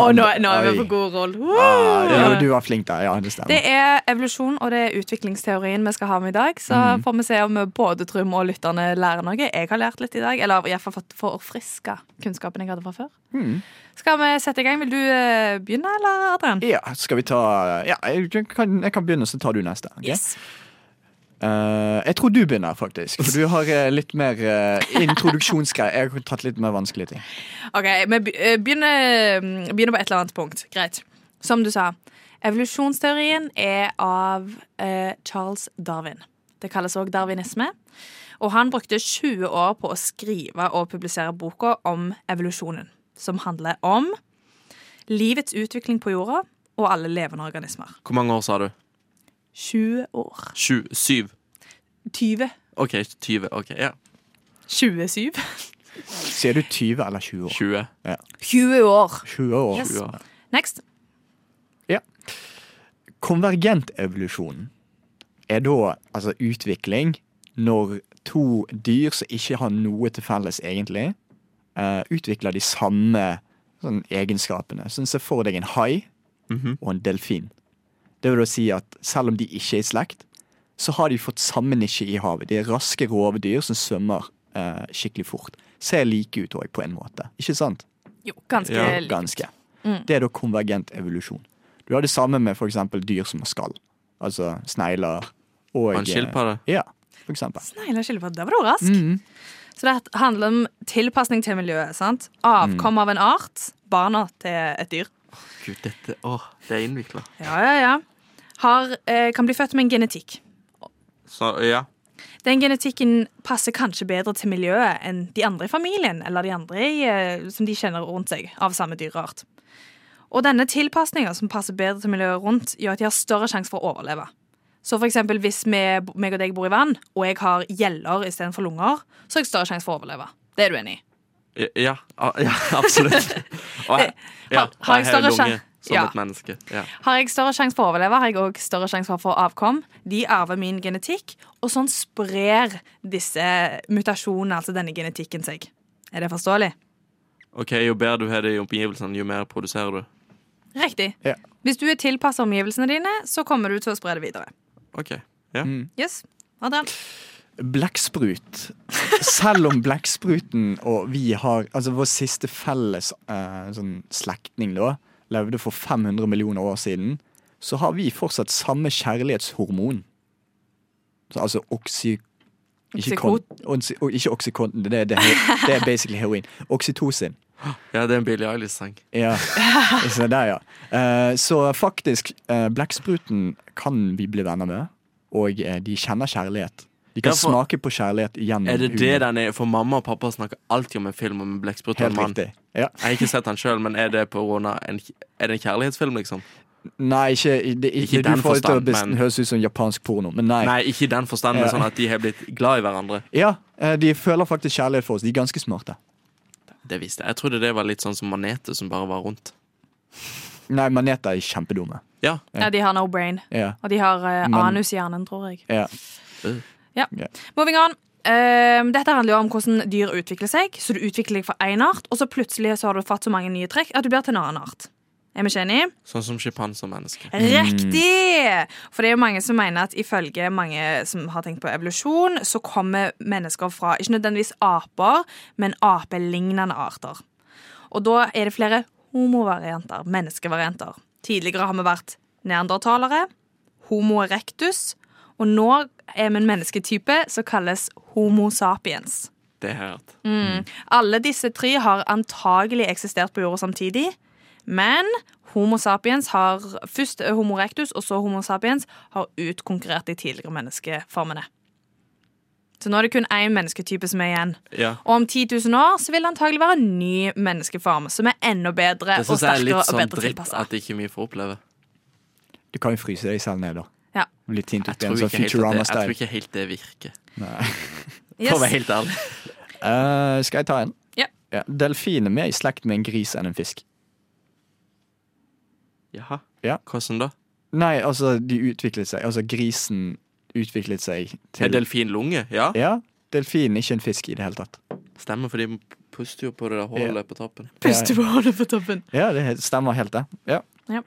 S5: Og nå, nå er vi
S4: Oi.
S5: på god roll.
S4: Ah,
S5: Woo!
S4: jo, du var flink der. Ja, det stemmer.
S5: Det er evolusjon og det er utviklingsteorien vi skal ha med i dag. Så får vi se om både Trym og lytterne lærer noe. Jeg har lært litt i dag, eller iallfall fått forfriska kunnskapen jeg hadde fra før. Skal vi sette i gang? Vil du eh, begynne, eller Adrian?
S4: Ja, skal vi ta ja, jeg, kan, jeg kan begynne, så tar du neste. ok?
S5: Yes.
S4: Eh, jeg tror du begynner, faktisk. For du har eh, litt mer uh, introduksjonsgreier. Jeg har tatt litt mer vanskelige ting.
S5: OK, vi be- eh, begynner, begynner på et eller annet punkt. Greit. Som du sa, evolusjonsteorien er av eh, Charles Darwin. Det kalles òg darwinisme. Og han brukte 20 år på å skrive og publisere boka om evolusjonen, som handler om livets utvikling på jorda og alle levende organismer.
S6: Hvor mange år sa du?
S5: 20 år.
S6: Sju? Syv?
S5: 20.
S6: OK, 20. ok, ja.
S5: 27.
S4: Sier du 20 eller 20 år?
S6: 20.
S5: 20 år.
S4: 20 år.
S5: Yes.
S6: 20 år.
S5: Next.
S4: Konvergentevolusjonen er da altså utvikling når to dyr som ikke har noe til felles egentlig, eh, utvikler de samme sånn, egenskapene. Sånn Se for deg en hai og en delfin. Det vil da si at selv om de ikke er i slekt, så har de fått samme nisje i havet. De er raske rovdyr som svømmer eh, skikkelig fort. Ser like ut òg, på en måte. Ikke sant?
S5: Jo, ganske
S6: Ja,
S5: likt.
S4: Ganske. Det er da konvergent evolusjon. Du har det samme med f.eks. dyr som har skall. Altså snegler og eh,
S6: Og en skilpadde.
S4: Ja, for eksempel.
S5: Snegler og skilpadder. Der var du rask. Så det handler om tilpasning til miljøet. sant? Avkom av en art. Barna til et dyr.
S6: Gud, dette Å, det er innvikla.
S5: Ja, ja, ja. Har, eh, kan bli født med en genetikk.
S6: Så ja.
S5: Den genetikken passer kanskje bedre til miljøet enn de andre i familien eller de andre i, eh, som de kjenner rundt seg av samme dyreart. Og denne tilpasninga som passer bedre til miljøet rundt, gjør at de har større sjanse for å overleve. Så for eksempel hvis vi, meg og deg bor i vann, og jeg har gjeller istedenfor lunger, så har jeg større sjanse for å overleve. Det er du enig i?
S6: Ja, ja, ja
S5: <laughs>
S6: absolutt. Og jeg, ja,
S5: Har- har jeg
S6: og
S5: større
S6: lunge
S5: sjan-
S6: som
S5: Ja.
S6: et menneske. Ja.
S5: Har jeg større sjanse for å overleve, har jeg også større sjanse for å få avkom. De arver min genetikk, og sånn sprer disse mutasjonene, altså denne genetikken, seg. Er det forståelig?
S6: OK, jo bedre du har det i omgivelsene, jo mer produserer du.
S5: Riktig.
S4: Ja.
S5: Hvis du er tilpassa omgivelsene dine, så kommer du til å spre det videre.
S6: OK. Ja.
S5: Yes, Adrian.
S4: Blekksprut. <laughs> Selv om blekkspruten og vi har Altså vår siste felles eh, sånn slektning da levde for 500 millioner år siden, så har vi fortsatt samme kjærlighetshormon. Så, altså oksy... Ikke, kon, oksy, og ikke oksykonten, det, er- det, er- det er basically heroin. Oksytocin.
S6: ja, det er en Billie Eilish-sang.
S4: Ja. <laughs> Se der, ja. Eh, så faktisk, eh, blekkspruten kan vi bli venner med, og eh, de kjenner kjærlighet. De kan
S6: Ja, for-
S4: smake på kjærlighet gjennom
S6: Er det
S4: huden.
S6: det den er? For mamma og pappa snakker alltid om en film om en blekksprut og en
S4: Helt
S6: mann.
S4: riktig. Ja.
S6: Jeg har ikke sett den sjøl, men er det på grunn av en, er det en kjærlighetsfilm, liksom?
S4: Nei, ikke, det,
S6: Ikke i
S4: du
S6: den
S4: får det til å
S6: forstand,
S4: bes-
S6: men-
S4: høres ut som japansk porno, men nei.
S6: Nei, ikke i den forstand, men
S4: Ja.
S6: sånn at de har blitt glad i hverandre.
S4: Ja, eh, De føler faktisk kjærlighet for oss. De er ganske smarte.
S6: Det visste jeg. Jeg trodde det var litt sånn som maneter som bare var rundt.
S4: Nei, maneter er kjempedumme.
S6: Ja.
S5: Ja, de har no brain.
S4: Ja.
S5: Og de har eh,
S4: Men-
S5: anus i hjernen, tror jeg.
S4: Ja.
S5: Moving on. Ehm, dette handler jo om hvordan dyr utvikler seg. Så du utvikler deg fra én art, og så plutselig så har du fått så mange nye trekk at du blir til en annen art. Er vi ikke enige?
S6: Sånn som sjimpanser og mennesker.
S5: Riktig! For det er jo mange som mener at ifølge mange som har tenkt på evolusjon, så kommer mennesker fra ikke nødvendigvis aper, men apelignende arter. Og da er det flere homovarianter, menneskevarianter. Tidligere har vi vært neandertalere, homo erectus, og nå er vi en mennesketype som kalles homo sapiens.
S6: Det har jeg hørt.
S5: Alle disse tre har antagelig eksistert på jorda samtidig, men Homo sapiens har først Homo erectus og så Homo sapiens har utkonkurrert de tidligere menneskeformene. Så nå er det kun én mennesketype som er igjen.
S6: Ja.
S5: Og om 10 000 år så vil det antagelig være en ny menneskeform som er enda bedre
S6: Det
S5: og
S6: syns jeg er
S5: sterkere
S6: litt
S5: og
S6: sånn
S5: bedre
S6: dritt
S5: tilpassa.
S6: at ikke vi får oppleve.
S4: Du kan jo fryse deg selv ned, da.
S5: Ja.
S4: Bli tint
S6: Jeg
S4: opp
S6: tror
S4: igjen, sånn
S6: ikke helt at det, jeg tror
S4: Futurama-style.
S6: ikke helt det virker. For å være
S5: Yes.
S6: helt ærlig.
S4: Eh, skal jeg ta en?
S5: Ja.
S4: Ja. Delfin er mer i slekt med en gris enn en fisk.
S6: Jaha.
S4: Ja.
S6: Hvordan da?
S4: Nei, altså, de utviklet seg Altså, grisen utviklet seg
S6: Er
S4: til
S6: delfin lunge? Ja.
S4: Ja. Delfin, ikke en fisk i det hele tatt.
S6: Stemmer, for de puster jo på det der hullet på toppen.
S5: Puste på hånda på toppen.
S4: Ja, det he- stemmer helt, det. Ja.
S5: Eh,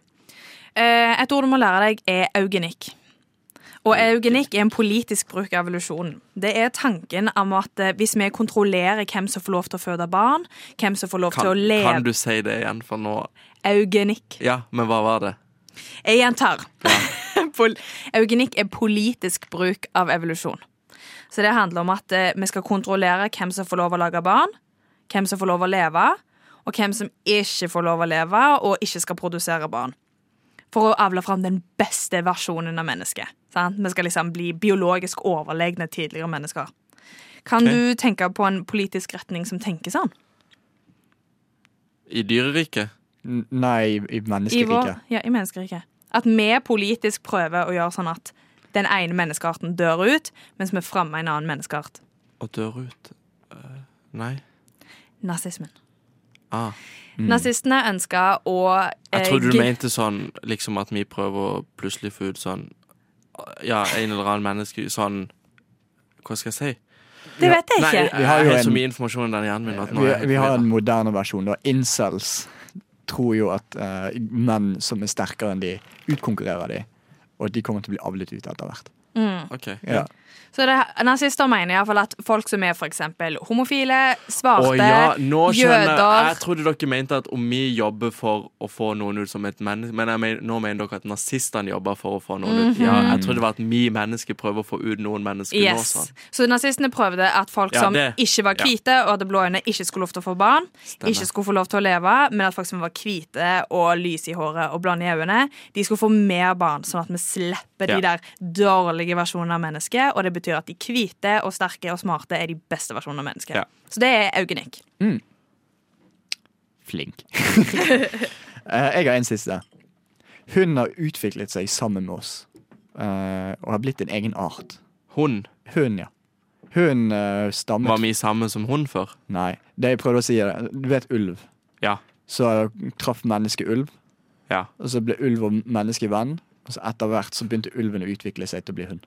S5: Et ord du må lære deg er eugenikk. Og eugenikk er en politisk bruk av evolusjonen. Det er tanken om at eh, hvis vi kontrollerer hvem som får lov til å føde barn, hvem som får lov til å
S6: Kan,
S5: leve
S6: kan du si det igjen for nå?
S5: Eugenikk.
S6: Ja, men hva var det?
S5: Jeg gjentar. <laughs> Pol- Eugenikk er politisk bruk av evolusjon. Så det handler om at eh, vi skal kontrollere hvem som får lov å lage barn, hvem som får lov å leve, og hvem som ikke får lov å leve og ikke skal produsere barn. For å avle fram den beste versjonen av mennesket. Sant? Vi skal liksom bli biologisk overlegne tidligere mennesker. Kan
S6: Ok.
S5: du tenke på en politisk retning som tenker sånn?
S6: I dyreriket?
S4: N- Nei, i
S5: I, vår,
S4: menneskeriket.
S5: ja, I menneskeriket. At vi politisk prøver å gjøre sånn at den ene menneskearten dør ut, mens vi fremmer en annen menneskeart.
S6: Og dør ut? Eh, nei.
S5: Nazismen.
S6: Ah.
S5: Nazistene ønska å
S4: Eh,
S5: eh,
S6: Jeg trodde du
S5: gr-
S6: mente sånn liksom at vi prøver å plutselig få ut sånn Ja, en eller annen menneske Sånn Hva skal jeg si?
S5: Det vet jeg
S6: Nei, jeg,
S5: ikke.
S6: jeg
S4: har
S6: har
S4: jo en-
S6: så mye informasjon i den hjernen min at nå er
S4: Vi,
S6: jeg helt
S4: vi har en
S6: forvirret.
S4: moderne versjon. da Incels tror jo at eh, menn som er sterkere enn de, utkonkurrerer de. Og de kommer til å bli avlet ut etter hvert.
S6: OK.
S4: Ja.
S5: Så det, nazister mener iallfall at folk som er for eksempel homofile,
S6: Å
S5: svarte,
S6: ja, nå skjønner jeg. Jeg
S5: jøder
S6: trodde dere mente at om vi jobber for å få noen ut som et menneske Men jeg mener, nå mener dere at nazistene jobber for å få noen ut. Ja, jeg trodde det var at vi mennesker prøver å få ut noen mennesker nå.
S5: Mhm. Yes.
S6: Sånn.
S5: Så nazistene prøvde at folk
S6: Ja,
S5: som
S6: det-
S5: ikke var
S6: ja.
S5: hvite og hadde blå øyne, ikke skulle lov til å få barn. Ikke skulle få lov til å leve, men at folk som var hvite og lyse i håret og blonde i øynene, de skulle få mer barn, sånn at vi slipper
S6: Ja.
S5: de der dårlige versjonene av mennesket. Og det betyr at de hvite og sterke og smarte er de beste versjonene av mennesket.
S6: Ja.
S5: Så det er eugenikk.
S4: Flink. <laughs> Eh, jeg har en siste. Hun har utviklet seg sammen med oss eh, og har blitt en egen art.
S6: Hun.
S4: Hun, ja. Hun eh, stammet
S6: Var vi sammen som hun før?
S4: Nei, det jeg prøvde å si er det. Du vet ulv.
S6: Ja.
S4: Så traff mennesket ulv,
S6: Ja.
S4: og så ble ulv og menneske venn. Og så etter hvert så begynte ulven å utvikle seg til å bli hund.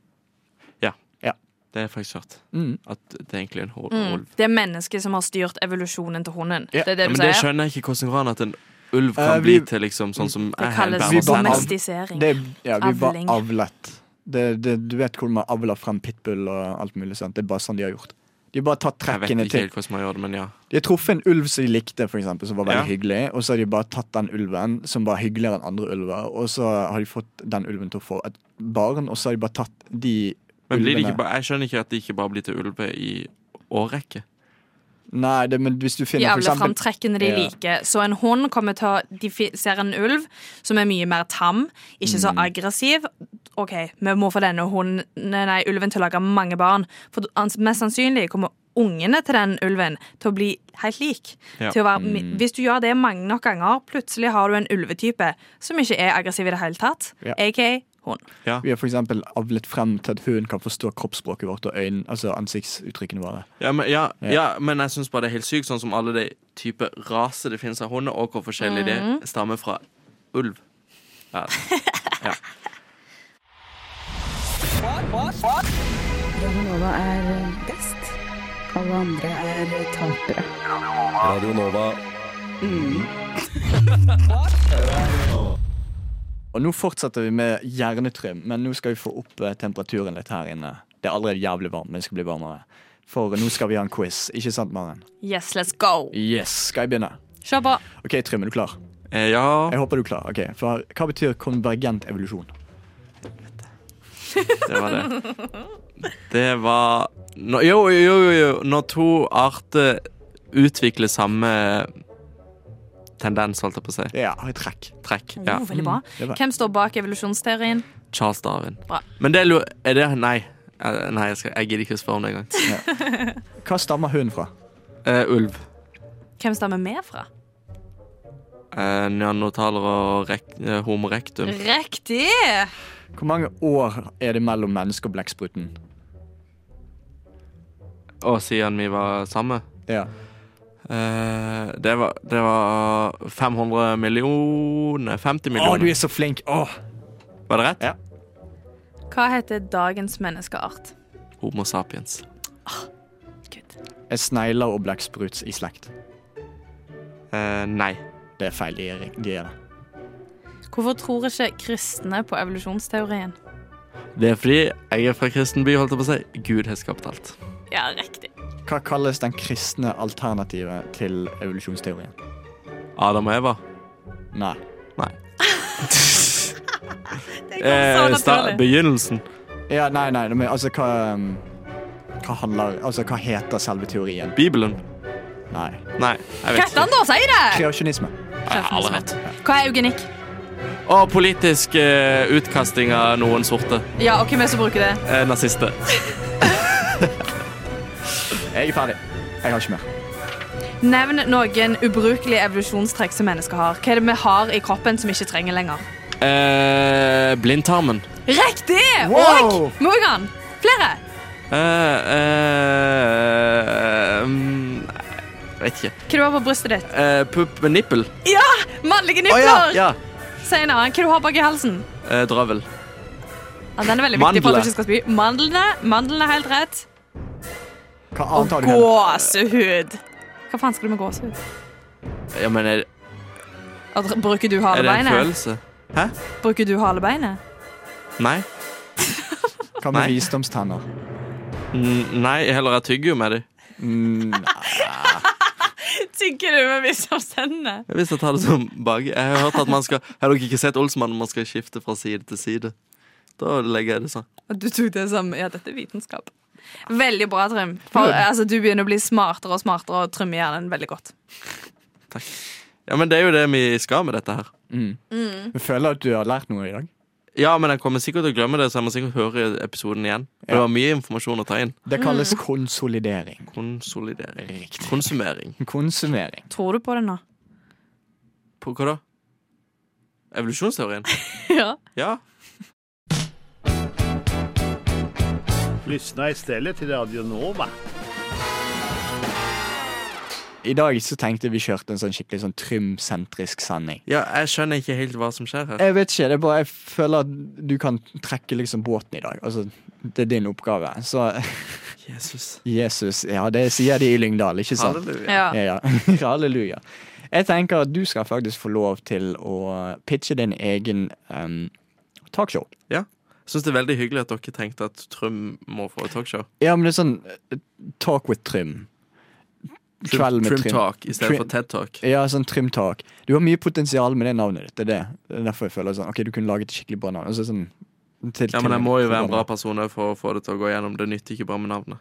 S6: Det har jeg faktisk hørt.
S4: Mm.
S6: At det er egentlig er en hol-
S5: Mm.
S6: ulv.
S5: Det er mennesket som har styrt evolusjonen til hunden.
S4: Ja.
S5: Det er
S6: Ja,
S5: det du
S6: men det
S5: sier.
S6: skjønner jeg ikke hvordan går an at en ulv kan
S4: Eh, vi-
S6: bli til liksom sånn som
S5: Det
S6: jeg
S5: kalles
S4: Vi bare-
S5: domestisering.
S4: Det, ja, vi var
S5: Avling.
S4: avlet. Det, det, du vet hvordan man avler frem pitbull og alt mulig sånt. Det er bare sånn de har gjort. De har bare tatt
S6: Jeg vet
S4: trekkene
S6: ikke
S4: til
S6: helt hvordan man gjør det, men ja.
S4: De har truffet en ulv som de likte, for eksempel, som var veldig
S6: Ja.
S4: hyggelig. Og så har de bare tatt den ulven, som var hyggeligere enn andre ulver. Og så har de fått den ulven til å få et barn, og så har de bare tatt de
S6: Men blir det
S4: ulvene
S6: ikke bare, jeg skjønner ikke at de ikke bare blir til ulver i årrekke.
S4: Nei, det, men hvis du
S5: De
S4: finner for
S5: avler
S4: eksempel
S5: fram trekkene de
S4: Ja.
S5: liker. Så en hund kommer til å De fi- ser en ulv som er mye mer tam, ikke så
S4: Mm.
S5: aggressiv. OK, vi må få denne hunden, nei, ulven til å lage mange barn. For ans- mest sannsynlig kommer ungene til den ulven til å bli helt lik.
S6: Ja.
S5: Til å være,
S4: Mm.
S5: mi- Hvis du gjør det mange nok ganger, plutselig har du en ulvetype som ikke er aggressiv i det hele tatt,
S4: Ja.
S5: aka hund.
S4: Vi har for eksempel avlet frem til at hunden kan forstå kroppsspråket vårt og øyn, altså ansiktsuttrykkene våre.
S6: Ja, men, ja, ja, men jeg syns bare det er helt sykt, sånn som alle de typer raser det finnes av hunder, og hvor forskjellig det stammer fra ulv. Ja.
S9: Radionova er best. Alle andre er tapere.
S7: Radio Nova.
S4: Og nå fortsetter vi med hjernetrym, men nå skal vi få opp eh, temperaturen litt her inne. Det er allerede jævlig varmt, men det skal bli varmere. For nå skal vi ha en quiz, ikke sant, Maren?
S5: Yes, let's go!
S4: Yes, skal jeg begynne?
S5: Kjør på.
S4: OK, Trym, er du klar?
S6: Eh, ja,
S4: Jeg håper du er klar. ok, For hva betyr konvergent evolusjon?
S6: det var det. Det var nå- Jo, jo, jo, jo. Når to arter utvikler samme tendens, holdt jeg på å si.
S4: Ja, et trekk.
S6: Trekk.
S5: Oh,
S6: Ja.
S5: veldig bra.
S4: Mm, Det var.
S5: Hvem står bak evolusjonsteorien?
S6: Charles Darwin.
S5: Bra.
S6: Men det lurer Er det Nei. Eh, Nei, jeg, skal, jeg gidder ikke å spørre om det engang.
S4: Hva stammer hunden fra?
S6: Eh, ulv.
S5: Hvem stammer vi fra?
S6: Eh, Neandertalere og rek, eh, homo rectum.
S5: Riktig!
S4: Hvor mange år er det mellom menneske og blekkspruten?
S6: Og siden vi var samme.
S4: Ja.
S6: Eh, det, var, det var 500 millioner
S4: Å,
S6: 50
S4: du
S6: millioner.
S4: er så flink! Åh.
S6: Var det rett?
S4: Ja.
S5: Hva heter dagens menneskeart?
S6: Homo sapiens.
S5: Gud.
S4: Er snegler og blekksprut i slekt?
S6: Eh, nei.
S4: Det er feil. De er, de er det.
S5: Hvorfor tror ikke kristne på evolusjonsteorien?
S6: Det er fordi jeg er fra kristen by, holdt jeg på å si. Gud har skapt alt.
S5: Ja, riktig.
S4: Hva kalles den kristne alternativet til evolusjonsteorien?
S6: Adam og Eva.
S4: Nei.
S6: Nei.
S5: Det
S6: Eh, sta- begynnelsen.
S4: Ja, nei, nei, men altså hva um, Hva handler Altså, hva heter selve teorien?
S6: Bibelen.
S4: Nei.
S6: Nei, jeg vet ikke.
S5: Krettan, da! Si det!
S4: Kreasjonisme.
S6: Jeg har aldri hørt.
S5: Hva er eugenikk?
S6: Og politisk eh, utkasting av noen sorte.
S5: Ja, og hvem er det som bruker det?
S6: Eh, nazister.
S4: Jeg er ferdig. Jeg har ikke mer.
S5: Nevn noen ubrukelige evolusjonstrekk som mennesker har. Hva er det vi har i kroppen som vi ikke trenger lenger?
S6: Eh, blindtarmen.
S5: Riktig!
S4: Wow!
S5: Og Morgan! Flere!
S6: Eh, eh, mm, vet ikke.
S5: Hva du har på brystet ditt?
S6: Eh, Pupp med nippel.
S5: Ja! Mannlige
S6: Å
S5: nipler!
S6: ja! ja.
S5: Si en annen. Hva du har bak i halsen?
S6: Eh, drøvel.
S5: Ja, den er veldig viktig for at du
S6: Mandler.
S5: ikke skal spy. Mandlene, mandlene er helt rett.
S4: Hva annet har du? igjen?
S5: Gåsehud. Hva faen skal du med gåsehud?
S6: Ja, men er,
S5: At, bruker du
S6: er det en
S5: halebeinet?
S6: følelse?
S5: Bruker du halebeinet?
S6: Nei.
S4: Hva med
S6: Nei.
S4: visdomstenner?
S6: N nei, heller jeg tygger jo med dem.
S5: Tygger du med visdomstennene?
S6: Hvis jeg tar det som bak Jeg har hørt at man skal Har dere ikke sett Olsmann når man skal skifte fra side til side? Da legger jeg det sånn.
S5: Og du tok det som Ja, dette er vitenskap. Veldig bra, Trym. For, altså, du begynner å bli smartere og smartere og trymme hjernen veldig godt.
S6: Ja, men det er jo det vi skal med dette her.
S4: Jeg føler at du har lært noe i dag.
S6: Ja, men jeg kommer sikkert til å glemme det, så jeg må sikkert høre episoden igjen. Det
S4: Ja.
S6: var mye informasjon å ta inn.
S4: Det kalles
S6: Mm.
S4: konsolidering.
S6: Konsolidering.
S4: Riktig.
S6: Konsumering.
S4: Konsumering.
S5: Tror du på det nå?
S6: På hva da? Evolusjonsteorien?
S5: <laughs> ja.
S6: Ja.
S10: Lyssna istället till Radio Nova.
S4: I dag så tenkte vi kjørte en sånn skikkelig sånn trymsentrisk sending.
S6: ja, jeg skjønner ikke helt hva som skjer her.
S4: Jeg vet ikke, det er bare jeg føler at du kan trekke liksom båten i dag. Altså, det er din oppgave. Så <laughs>
S6: Jesus.
S4: Jesus, ja, det sier de i Lyngdal, ikke sant?
S6: Halleluja.
S5: ja.
S4: Ja, <laughs> ja. Halleluja. Jeg tenker at du skal faktisk få lov til å pitche din egen um, talkshow.
S6: Jeg syns det er veldig hyggelig at dere tenkte at Trym må få et talkshow.
S4: Ja, men det er sånn eh, talk with trim. Kveld med trim.
S6: Trym-talk i stedet
S4: Trym-
S6: for TED-talk.
S4: Ja, sånn trimtalk. Du har mye potensial med det navnet ditt. Det er det. Det er derfor jeg føler sånn, ok, du kunne laget et skikkelig bra navn. Og så sånn, til-
S6: Ja, men jeg
S4: til-
S6: må jo være en bra person også for å få det til å gå gjennom. Det nytter ikke bare med navnet.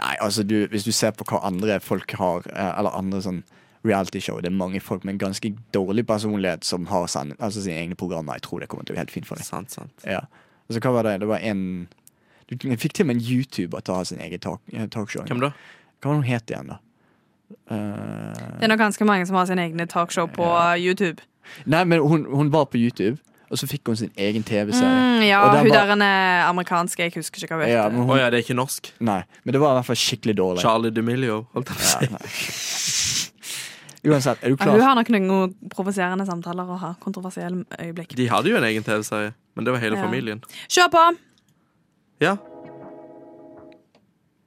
S4: Nei, altså du, hvis du ser på hva andre folk har, eh, eller andre sånn realityshow, det er mange folk med en ganske dårlig personlighet som har sand, altså sine egne programmer. Jeg tror det kommer til å bli helt fint for deg.
S6: Sant, sant.
S4: Ja. Altså, hva var det? Det var en du, Jeg fikk til og med en YouTuber til å ha sin egen talk, eh, talkshow.
S6: Hvem da?
S4: Hva var det hun het igjen, da? Eh,
S5: Det er nok ganske mange som har sine egne talkshow på YouTube.
S4: nei, men hun, hun var på YouTube, og så fikk hun sin egen TV-serie.
S5: Mm, ja,
S4: Og den
S5: hun
S4: var-
S5: der er amerikansk. Jeg husker ikke hva hun
S4: Ja,
S5: heter.
S4: men,
S6: Å
S4: hun,
S6: ja, det er ikke norsk.
S4: nei, men det var i hvert fall skikkelig dårlig.
S6: Charlie DeMilio, holdt jeg på å
S4: Ja,
S6: si.
S4: nei. Uansett, er du
S5: Ja, hun
S4: klar?
S5: har nok noen provoserende samtaler og har kontroversielle øyeblikk.
S6: De hadde jo en egen TV-serie, men det var hele
S5: Ja.
S6: familien.
S5: Kjør på!
S6: Ja,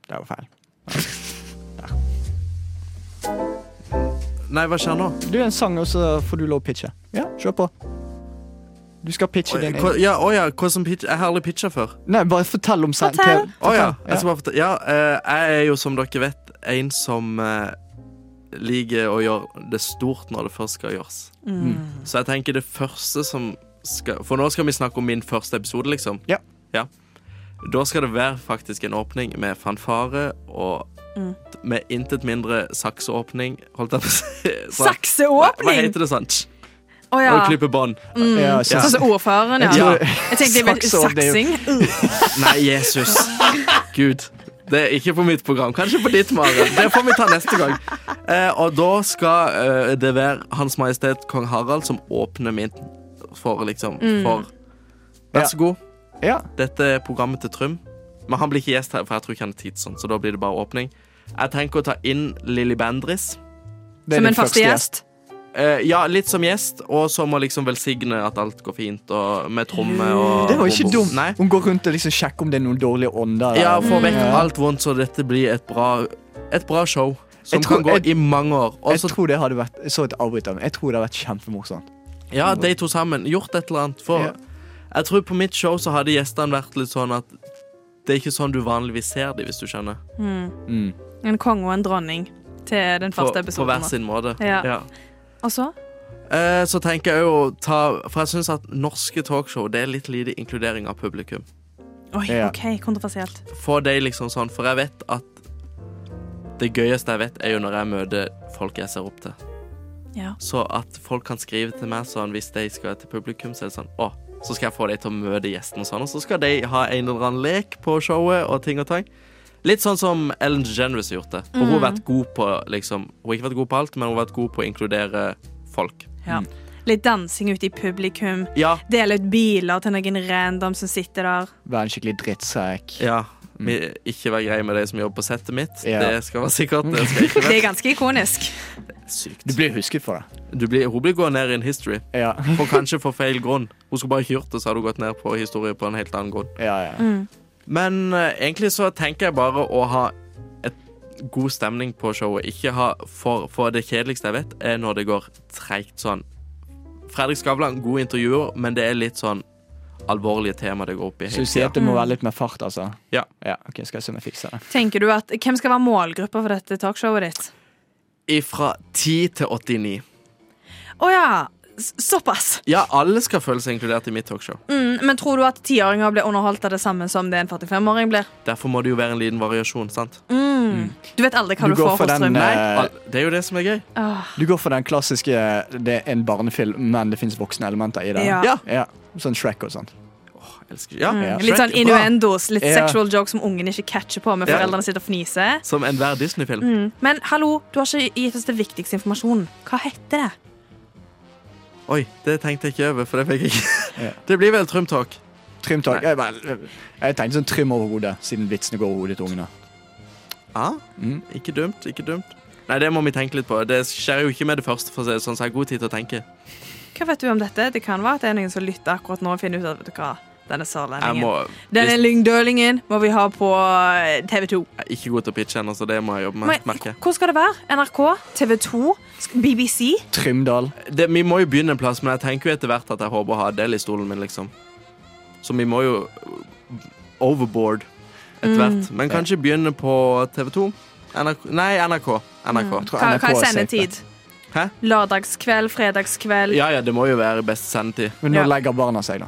S4: Det var feil.
S6: Nei, hva skjer nå?
S4: Du er en sang, og så får du lov å pitche. Ja, kjør på. Du skal pitche din
S6: Hva-
S4: egen
S6: Ja, å ja, hva som pitch? Jeg har aldri pitcha før.
S4: Nei, bare fortell om sen-
S5: Fortell.
S4: TV.
S6: Å ja.
S4: Ja.
S6: Jeg skal bare fortelle. Ja, eh, jeg er jo som dere vet en som eh, liker å gjøre det stort når det først skal gjøres. Så jeg tenker det første som skal For nå skal vi snakke om min første episode, liksom.
S4: Ja.
S6: Da skal det være faktisk en åpning med fanfare og med intet mindre sakseåpning, holdt jeg på å si. <laughs> Sånn. Hva, hva
S5: Sakseåpning!
S6: heter det sånn? Tsk,
S5: Å ja.
S6: Og klippe bånd.
S4: Ja,
S5: Sånn
S4: kjære.
S5: som ordføreren, ja.
S6: Ja.
S5: Jeg tenkte vel
S4: Sakseåpning.
S5: saksing.
S6: Nei, Jesus. Gud. Det er ikke på mitt program. Kanskje på ditt, Maren. Det får vi ta neste gang. Eh, og da skal eh, det være Hans Majestet Kong Harald som åpner min for liksom For Vær så god.
S4: Mm. Ja.
S6: Dette er programmet til Trym. Men han blir ikke gjest her, for jeg tror ikke han er tidsånd. Så da blir det bare åpning. Jeg tenker å ta inn Lilly Bendriss.
S4: Det er
S5: Som
S4: din
S5: en første gjest.
S6: Eh, ja, litt som gjest, og som å liksom velsigne at alt går fint, og med tromme og
S4: Mm, Det var ikke
S6: bom, bom.
S4: dumt.
S6: Nei.
S4: Hun går rundt og liksom sjekker om det er noen dårlige ånder.
S6: Ja,
S4: der.
S6: få vekk alt vondt, så dette blir et bra, et bra show. Som
S4: Jeg tror-
S6: kan gå
S4: jeg-
S6: i mange år. Og
S4: Jeg
S6: så-
S4: tror det hadde vært Jeg så et avbryter, men jeg tror det hadde vært kjempemorsomt.
S6: ja, de to sammen. Gjort et eller annet. For
S4: Ja.
S6: jeg tror på mitt show så hadde gjestene vært litt sånn at det er ikke sånn du vanligvis ser dem, hvis du skjønner.
S4: Mm.
S5: En konge og en dronning til den
S6: På,
S5: første
S6: på
S5: episoden.
S6: hver sin måte.
S5: Ja. Og så?
S6: Eh, så tenker jeg jo å ta For jeg syns at norske talkshow det er litt lite inkludering av publikum.
S5: Oi,
S4: Ja.
S5: OK, kontroversielt.
S6: Få de liksom sånn, for jeg vet at det gøyeste jeg vet, er jo når jeg møter folk jeg ser opp til.
S5: Ja.
S6: Så at folk kan skrive til meg sånn hvis de skal til publikum, så er det sånn Å, så skal jeg få de til å møte gjestene og sånn, og så skal de ha en eller annen lek på showet og ting og tang. Litt sånn som Ellen DeGeneres har gjort det. Og hun har vært god på liksom Hun har ikke vært god på alt, men hun har vært god på å inkludere folk.
S5: Ja. Litt dansing ute i publikum.
S6: Ja.
S5: Dele ut biler til noen random som sitter der.
S4: Være en skikkelig drittsekk.
S6: ja. Vi, ikke vær grei med de som jobber på settet mitt.
S4: Ja.
S6: Det skal være sikkert. Det skal ikke <laughs>
S5: Det er ganske ikonisk.
S6: være Mm. sykt.
S4: Du blir husket for det.
S6: Du blir, hun blir gått ned i en history.
S4: Ja,
S6: For kanskje for feil grunn. Hun skulle bare ikke gjort det, så hadde hun gått ned på historie på en helt annen grunn.
S4: ja, ja.
S5: Mm.
S6: Men eh, egentlig så tenker jeg bare å ha et god stemning på showet. Ikke ha for, for det kjedeligste jeg vet, er når det går treigt sånn. Fredrik Skavlan, god intervjuer, men det er litt sånn alvorlige tema det går opp i.
S4: Så
S6: hele
S4: du sier
S6: tiden.
S4: at det
S5: Mm.
S4: må være litt mer fart, altså?
S6: Ja.
S4: ja ok, Skal jeg se om jeg fikser det.
S5: Tenker du at Hvem skal være målgruppa for dette talkshowet ditt?
S6: Ifra 10 til 89.
S5: Å ja. s- Såpass.
S6: Ja, alle skal føle seg inkludert i mitt talkshow.
S5: Mm, men tror du at tiåringer blir underholdt av det samme som det en 45-åring blir?
S6: Derfor må det jo være en liten variasjon, sant?
S4: Mm.
S5: Du vet aldri hva
S4: Du
S5: du,
S4: går for
S5: får fra
S4: den,
S5: strømmen.
S4: eh,
S6: Al- Det er jo det som er gøy.
S4: Du går for den klassiske det er en barnefilm, men det fins voksne elementer i det.
S5: Ja.
S6: Ja.
S4: Sånn Shrek og sånt.
S6: Elsker. Ja.
S4: ja.
S5: Litt sånn
S6: Shrek er bra.
S5: innuendos, litt
S4: Ja.
S5: sexual jokes som ungen ikke catcher på, men
S6: Ja.
S5: foreldrene sitter og fniser.
S6: Som enhver Disney-film.
S5: Men hallo, du har ikke gitt oss det viktigste informasjonen. Hva heter det?
S6: Oi, det tenkte jeg ikke over, for det fikk jeg ikke.
S4: Ja.
S6: <laughs> Det blir vel Trumtalk.
S4: Trym tak. Jeg, bare- jeg tenkte sånn trym over hodet, siden vitsene går over hodet til ungene.
S6: Ah,
S4: Mm.
S6: Ikke dumt, ikke dumt. Nei, det må vi tenke litt på. Det skjer jo ikke med det første, for å si det sånn, så jeg har god tid til å tenke.
S5: Hva vet du om dette? Det kan være at det er noen som lytter akkurat nå og finner ut at vet du hva, denne
S6: Jeg
S5: sørlendingen.
S6: må
S5: Denne
S6: hvis-
S5: lyngdølingen må vi ha på eh, TV 2.
S6: jeg er ikke god til å pitche ennå, så det må jeg jobbe med.
S5: Men,
S6: merker jeg.
S5: hvor skal det være? NRK? TV 2? BBC?
S4: Trymdal.
S6: Det, vi må jo begynne en plass, men jeg tenker jo etter hvert at jeg håper å ha Adele i stolen min, liksom. Så vi må jo overboard etter hvert. Men kanskje begynne på TV2. NRK Nei, NRK. NRK.
S4: Tror
S5: Mm. Hva,
S4: NRK
S5: hva er
S4: safe.
S5: sendetid?
S6: Hæ?
S5: Lørdagskveld? Fredagskveld?
S6: Ja, ja, det må jo være best sendetid.
S4: Men nå
S5: Ja.
S4: legger barna seg, da.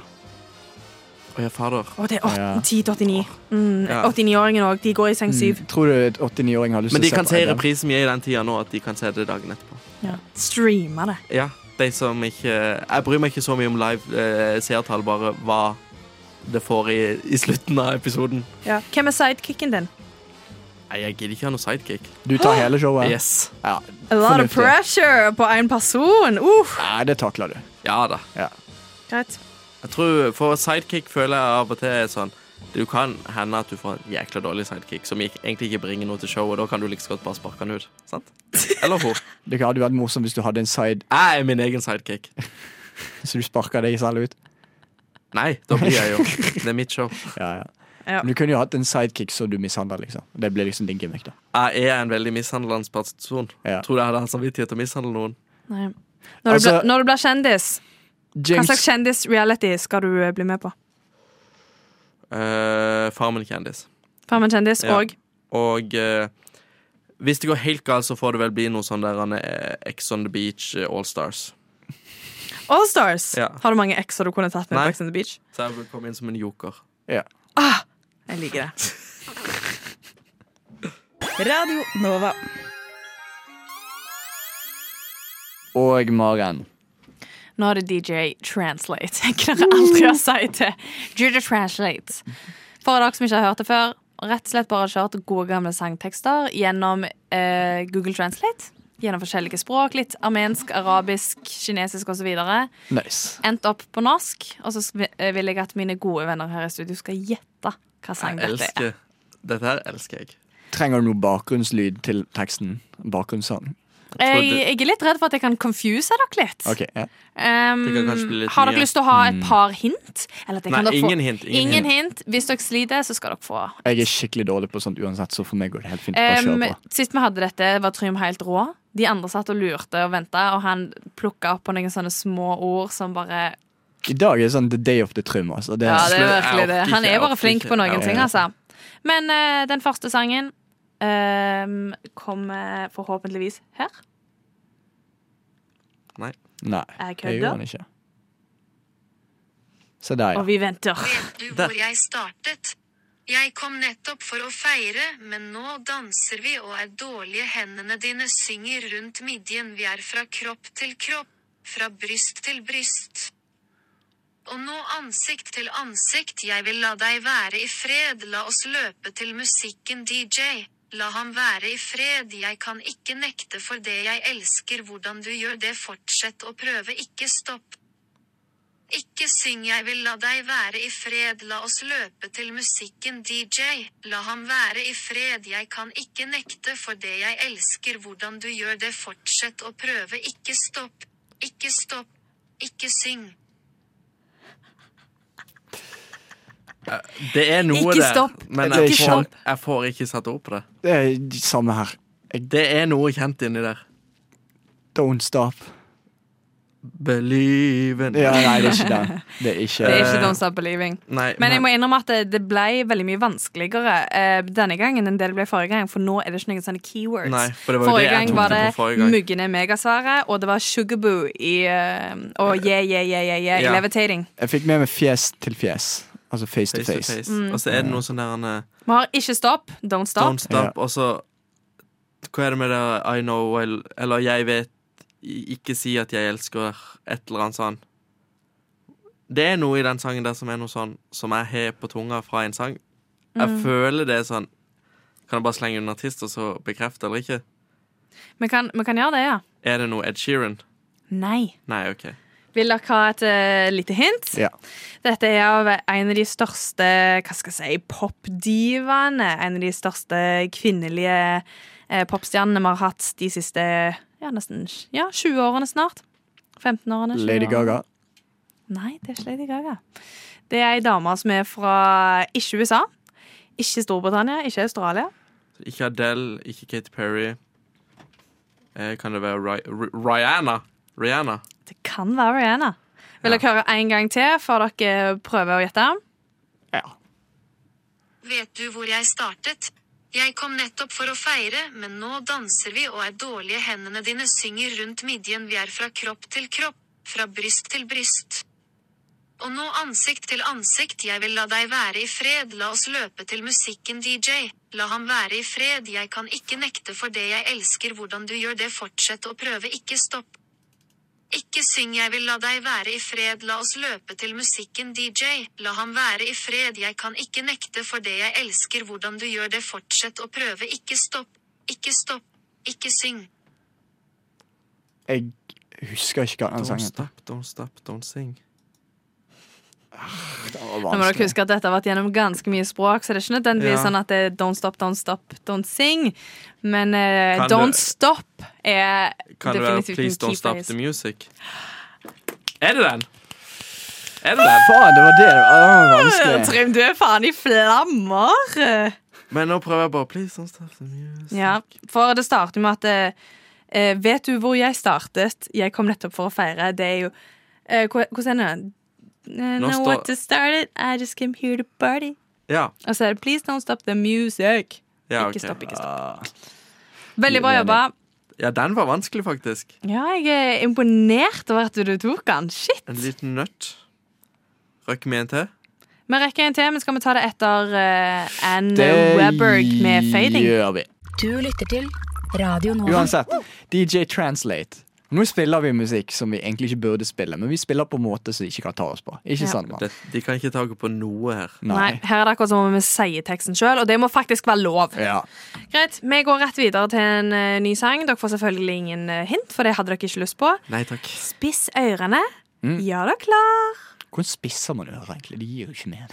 S6: Å ja, fader.
S5: Å, det er
S4: Ja.
S5: 10-89. Mm,
S6: Ja. Mm.
S5: 89-åringen òg. De går i seng Mm. syv.
S4: Tror du et 89-åring har lyst
S6: Men
S4: til å
S6: de
S4: se
S6: kan
S4: på
S6: se
S4: Edda?
S6: reprisen vi er i den tida nå, at de kan se det dagen etterpå.
S5: Streamer det.
S6: Ja, de som ikke Jeg bryr meg ikke så mye om live eh, seertall, bare hva det får i, i slutten av episoden.
S5: Hvem er sidekicken din?
S6: Nei, jeg gidder ikke ha noe sidekick.
S4: Du tar hele showet?
S6: Yes.
S4: Ja.
S5: A lot
S4: Fornuftig.
S5: of pressure på én person. Uff.
S4: Nei, det takler du.
S6: Ja da.
S5: Greit.
S6: Jeg tror For sidekick føler jeg av og til er sånn Du kan hende at du får en jækla dårlig sidekick som ikke- egentlig ikke bringer noe til showet. Da kan du like så godt bare sparke han ut. Sant? Eller hun.
S4: Det hadde jo vært morsomt hvis du hadde en side
S6: Jeg er min egen sidekick.
S4: så du sparka deg selv ut.
S6: Nei, da blir jeg jo Det er mitt show.
S4: Ja, ja.
S5: Ja.
S4: Men du kunne jo hatt en sidekick så du mishandler, liksom. Det blir liksom din gimmick, da.
S6: Jeg er en veldig mishandlende person.
S4: Ja.
S6: Tror du jeg hadde hatt samvittighet til å mishandle noen?
S5: Nei. Når, du
S4: Altså-
S5: blir- når du blir kjendis, hva slags
S4: Jinx,
S5: kjendis-reality skal du eh, bli med på?
S6: Eh, Farmen kjendis.
S5: Farmen kjendis
S6: Ja.
S5: og
S6: Og eh, hvis det går helt galt, så får det vel bli noe sånn der han er Ex on the Beach eh, All Stars.
S5: All Stars.
S6: Ja.
S5: Har du mange ekser du kunne tatt med
S6: Nei.
S5: på Ex on the Beach?
S6: Så jeg vil komme inn som en joker.
S5: Jeg liker det.
S9: Radio Nova.
S4: og Maren.
S5: Nå er det DJ Translate. <laughs> Jeg klarer aldri å si det. DJ Translate. For dere som ikke har hørt det før, rett og slett bare kjørt gode gamle sangtekster gjennom eh, Google Translate. Gjennom forskjellige språk. Litt armensk, arabisk, kinesisk osv.
S4: Nice.
S5: Endt opp på norsk. Og så sv- eh, vil jeg at mine gode venner her i studio skal gjette hva sang
S6: Jeg
S5: dette er.
S6: elsker Dette her elsker jeg.
S4: Trenger du noe bakgrunnslyd til teksten? Bakgrunnssang?
S5: Eh, Jeg,
S6: trodde-
S5: jeg er litt redd for at jeg kan confuse dere litt.
S4: Ok, ja.
S5: Um,
S6: Det kan kanskje bli litt
S5: har dere
S6: mye.
S5: lyst til å ha et par hint? Eller at jeg
S6: Nei,
S5: kan dere få-
S6: ingen hint, ingen
S5: ingen hint. Hvis dere sliter, så skal dere få
S4: Jeg er skikkelig dårlig på sånt uansett, så for meg går det helt fint. Bare
S5: Um,
S4: kjør på.
S5: sist vi hadde dette, var Trym helt rå. De andre satt og lurte og venta, og han plukka opp på noen sånne små ord som bare
S4: I dag er det sånn the day of the trim. Altså. Det er,
S5: Ja, det er
S6: slø- jeg
S5: virkelig det.
S6: orker
S5: Han
S6: ikke,
S5: er
S6: jeg
S5: bare
S6: orker
S5: flink
S6: ikke,
S5: på noen
S6: jeg
S5: ting,
S4: orker
S5: altså. Men eh, den første sangen ehm, kommer forhåpentligvis her.
S4: Nei, det
S5: Jeg
S4: gjorde han
S5: kødder,
S4: ikke. Se der,
S5: og
S4: ja.
S5: vi venter.
S6: Eh,
S11: Du, hvor jeg startet. Jeg kom nettopp for å feire, men nå danser vi og er dårlige. Hendene dine synger rundt midjen. Vi er fra kropp til kropp, fra bryst til bryst. Og nå ansikt til ansikt, jeg vil la deg være i fred. La oss løpe til musikken, DJ. La ham være i fred, jeg kan ikke nekte for det jeg elsker. Hvordan du gjør det, fortsett å prøve, ikke stopp. Ikke syng jeg vil la deg være i fred, la oss løpe til musikken DJ, la ham være i fred, jeg kan ikke nekte for det jeg elsker, hvordan du gjør det, fortsett å prøve, ikke stopp, ikke stopp, ikke syng.
S6: Det er noe
S5: Ikke
S6: der,
S5: stopp.
S6: men
S4: Ikke
S6: jeg får,
S4: stopp.
S6: jeg får ikke satt ord på det.
S4: Det er de samme her.
S6: Det er noe kjent inni der.
S4: Don't stop.
S6: Believin'.
S4: Ja, nei, det er ikke den. Det er ikke,
S5: Det er ikke Don't Stop Believing.
S6: Nei,
S5: Men jeg må innrømme at det- det ble veldig mye vanskeligere eh, denne gangen enn det det ble forrige gang, for nå er det ikke noen sånne keywords.
S6: Nei, for det var jo det
S5: forrige
S6: jeg
S5: gang
S6: tok
S5: var
S6: det
S5: det
S6: på forrige gang.
S5: muggene megasvære, og det var Sugarboo i eh, og yeah, yeah, yeah, yeah, yeah, i
S6: Ja.
S5: Levitating.
S4: Jeg fikk med meg fjes til fjes. Altså face,
S6: Face to face. Og så er det noe sånn der han, eh,
S5: Vi har ikke stopp, Don't Stop.
S6: Don't stop, og så Hva er det med det I know well, Eller jeg vet i- Ikke si at jeg elsker et eller annet sånn Det er noe i den sangen der som er noe sånn Som jeg har på tunga fra en sang Jeg
S5: Mm.
S6: føler det er sånn Kan jeg bare slenge en artist og så bekrefte eller ikke
S5: Vi kan, vi kan gjøre det, ja.
S6: Er det noe Ed Sheeran?
S5: Nei.
S6: Nei, ok
S5: Vil dere ha et eh, lite hint?
S6: Ja.
S5: Dette er av en av de største hva skal jeg si, popdivaene. En av de største kvinnelige eh, popstjernene vi har hatt de siste ja, nesten ja, 20 årene snart. 15 årene. 20
S4: Lady
S5: årene.
S4: Gaga.
S5: Nei, det er ikke Lady Gaga. Det er ei dame som er fra ikke USA, ikke Storbritannia, ikke Australia.
S6: Så Ikke Adele, ikke Katy Perry eh, Kan det være Ri- Ri- Rihanna? Rihanna
S5: Det kan være Rihanna. Vil dere høre en gang til før dere prøver å gjette?
S11: Vet du hvor jeg startet? Jeg kom nettopp for å feire, men nå danser vi og er dårlige. Hendene dine synger rundt midjen. Vi er fra kropp til kropp, fra bryst til bryst. Og nå ansikt til ansikt. Jeg vil la deg være i fred. La oss løpe til musikken, DJ. La ham være i fred. Jeg kan ikke nekte for det jeg elsker. Hvordan du gjør det, fortsett å prøve. Ikke stopp. Ikke syng, jeg vil la deg være i fred, la oss løpe til musikken, DJ. La ham være i fred, jeg kan ikke nekte for det jeg elsker, hvordan du gjør det, fortsett å prøve, ikke stopp, ikke stopp, ikke syng.
S4: Jeg husker ikke hva den
S6: Don't
S4: sangen het.
S6: stop, don't stop, don't sing
S5: Nå må dere huske at dette har vært gjennom ganske mye språk, så det er ikke nødvendigvis
S6: Ja.
S5: sånn at det er don't stop, don't stop, don't sing. Men eh,
S6: Kan
S5: don't
S6: det-
S5: stop er
S6: Kan det være
S5: definitivt
S6: Please
S5: en
S6: Don't
S5: key
S6: Stop
S5: phrase.
S6: The Music? Er det den? Er det den?
S4: Faen, det var det. Å, det var
S5: Øh,
S4: vanskelig.
S5: Trym, du er faen i flammer!
S6: Men nå prøver jeg bare Please Don't Stop The Music.
S5: Ja, for det starter med at eh, Vet du hvor jeg startet? Jeg kom nettopp for å feire. Det er jo eh, hva- Hvordan er det? Eh,
S6: Nå
S5: Know
S6: står-
S5: what to start it, I just came here to party.
S6: Ja.
S5: Og så er det Please don't stop the music.
S6: ja
S5: Ikke
S6: ok.
S5: stopp, ikke
S4: Ah.
S5: stopp. Veldig bra jobba.
S6: Ja, den var vanskelig, faktisk.
S5: Ja, jeg er imponert over at du tok den. Shit!
S6: En liten nøtt. Røkker vi en til?
S5: Vi rekker en til, men skal vi ta det etter uh, Anne
S4: Det
S5: Webberg med Fading?
S4: gjør vi.
S8: Du lytter til Radio Nova.
S4: Uansett, DJ Translate. Nå spiller vi musikk som vi egentlig ikke burde spille, men vi spiller på en måte som vi ikke kan ta oss på. Ikke
S5: Ja.
S4: sant, mann?
S6: Det, de kan ikke ta på noe her.
S5: Nei. her er det akkurat som om vi sier teksten sjøl, og det må faktisk være lov.
S4: Ja.
S5: Greit, Vi går rett videre til en eh, ny sang. Dere får selvfølgelig ingen eh, hint, for det hadde dere ikke lyst på.
S6: Nei takk.
S5: Spiss ørene.
S4: Mm.
S5: Gjør dere klar.
S4: Hvordan spisser man ører, egentlig? Det gir jo ikke mening.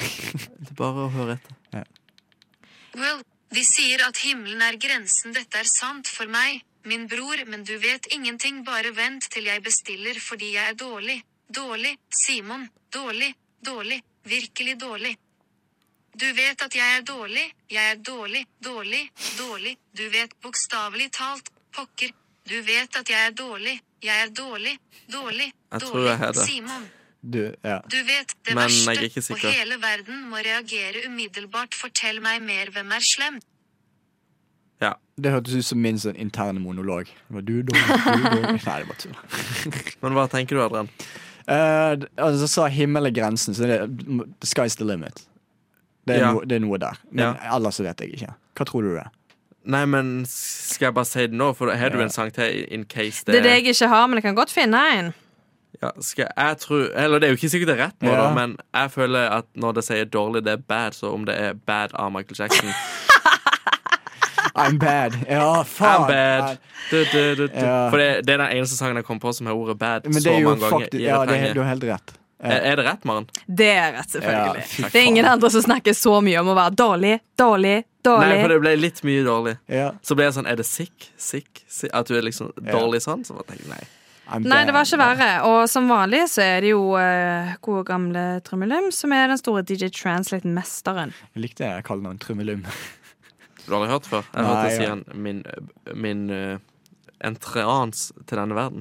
S6: Det er bare å høre etter.
S11: Well, de sier at himmelen er grensen, dette er sant for meg, min bror, men du vet ingenting, bare vent til jeg bestiller fordi jeg er dårlig, dårlig, Simon, dårlig, dårlig, virkelig dårlig. Du vet at jeg er dårlig, jeg er dårlig, dårlig, dårlig, du vet bokstavelig talt, pokker, du vet at jeg er dårlig, jeg er dårlig, dårlig,
S6: Jeg tror jeg har
S11: dårlig,
S6: det.
S11: Simon.
S4: Du, ja.
S11: Du vet, det
S6: Men jeg er ikke
S11: verste, og
S6: sikker.
S11: hele verden må reagere umiddelbart. Fortell meg mer, hvem er slem?
S4: Det hørtes ut som min sånn interne monolog. Det var du, du, du, du. Nei, det var tull.
S6: Men hva tenker du, Adrian?
S4: Eh, d- altså, så sa himmel er grensen, så det er the sky's the limit. Det er,
S6: Ja.
S4: noe- det er noe der. Men
S6: Ja.
S4: ellers så vet jeg ikke. Hva tror du det er?
S6: Nei, men s- skal jeg bare si det nå? For har du en sang til in case det
S5: Det er det jeg ikke har, men jeg kan godt finne en.
S6: Ja, skal jeg tro Eller det er jo ikke sikkert det er rett nå,
S4: Ja.
S6: da, men jeg føler at når det sier dårlig, det er bad, så om det er bad av Michael Jackson
S4: I'm bad. Ja, faen.
S6: I'm bad. Du, du, du, du.
S4: Ja.
S6: For det, det er den eneste sangen jeg kom på som har ordet bad
S4: Men det
S6: så
S4: er jo
S6: mange ganger.
S4: faktisk
S6: i
S4: Ja, det er,
S6: refrenget.
S4: du har helt rett. Ja.
S6: Er, er det rett, Maren?
S5: Det er rett,
S4: Ja,
S5: selvfølgelig.
S4: fy
S5: det er ingen
S4: faen.
S5: andre som snakker så mye om å være dårlig, dårlig,
S6: Nei,
S5: dårlig.
S6: for det ble litt mye dårlig.
S4: Ja.
S6: Så ble jeg sånn Er det sick? Sick? sick? At du er liksom dårlig sånn? Så bare tenkte jeg nei.
S4: I'm
S5: Nei, det var
S4: bad.
S5: ikke verre. Og som vanlig så er det jo eh, gode gamle Trummelum som er den store DJ Translate-mesteren.
S4: Jeg likte jeg kaller den Trummelum.
S6: Du har aldri hørt før? Jeg
S4: Nei,
S6: hørte
S4: ja.
S6: si han min, min eh, entrance til denne verden.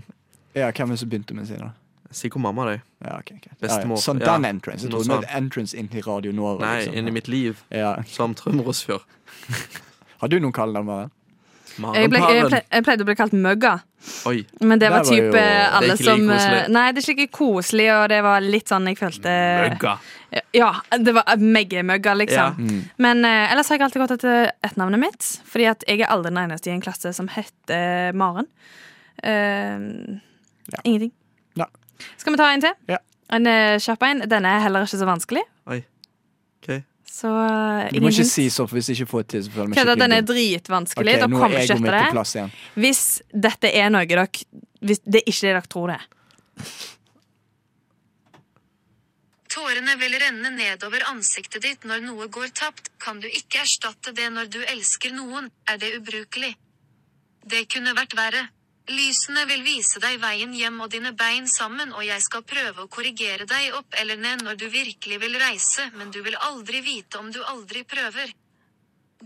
S4: Ja, Hvem er det som begynte med sin? da?
S6: Si hvor mamma er.
S4: Ja, ok, ok.
S6: Bestemor.
S4: Ja, ja. Sånn
S6: Ja,
S4: den entrance. Jeg
S6: noe
S4: trodde det
S6: sånt.
S4: var entrance inn til Radio Nova.
S6: Nei,
S4: liksom.
S6: inn i mitt liv. Som trømmerosfjør.
S4: Har du noen kallenavn, Maren?
S5: Jeg, ble, jeg, ple- jeg pleide å bli kalt Møgga,
S6: Oi.
S5: men det
S4: Der var
S5: var
S4: jo-
S5: type
S4: Det er
S5: alle
S6: ikke like
S5: som eh,
S6: koselig.
S5: Nei, det er ikke like koselig, og det var litt sånn jeg følte
S6: Møgga.
S5: Ja, det var meggemøgga, liksom.
S6: Ja. Mm.
S5: Men eh, ellers har jeg alltid gått etter etternavnet mitt, fordi at jeg er aldri den eneste i en klasse som heter Maren. Eh, Ingenting.
S4: Nei.
S5: Skal vi ta en til?
S4: Ja.
S5: En eh, kjapp en. Denne er heller ikke så vanskelig,
S6: Oi. OK.
S5: så eh,
S4: Du må
S5: ingen
S4: ikke
S5: hint.
S4: si så, for hvis jeg ikke får til, så føler jeg meg
S5: Kødda,
S4: skikkelig
S5: den er
S4: dum.
S5: dritvanskelig.
S4: Ok,
S5: Dere
S4: nå
S5: kommer
S4: er
S5: ikke
S4: egoet mitt på
S5: etter det.
S4: plass igjen.
S5: Hvis dette er noe dere Hvis det er ikke det dere tror det er.
S11: Tårene vil renne nedover ansiktet ditt når noe går tapt. Kan du ikke erstatte det når du elsker noen, er det ubrukelig. Det kunne vært verre. Lysene vil vise deg veien hjem og dine bein sammen, og jeg skal prøve å korrigere deg opp eller ned når du virkelig vil reise, men du vil aldri vite om du aldri prøver.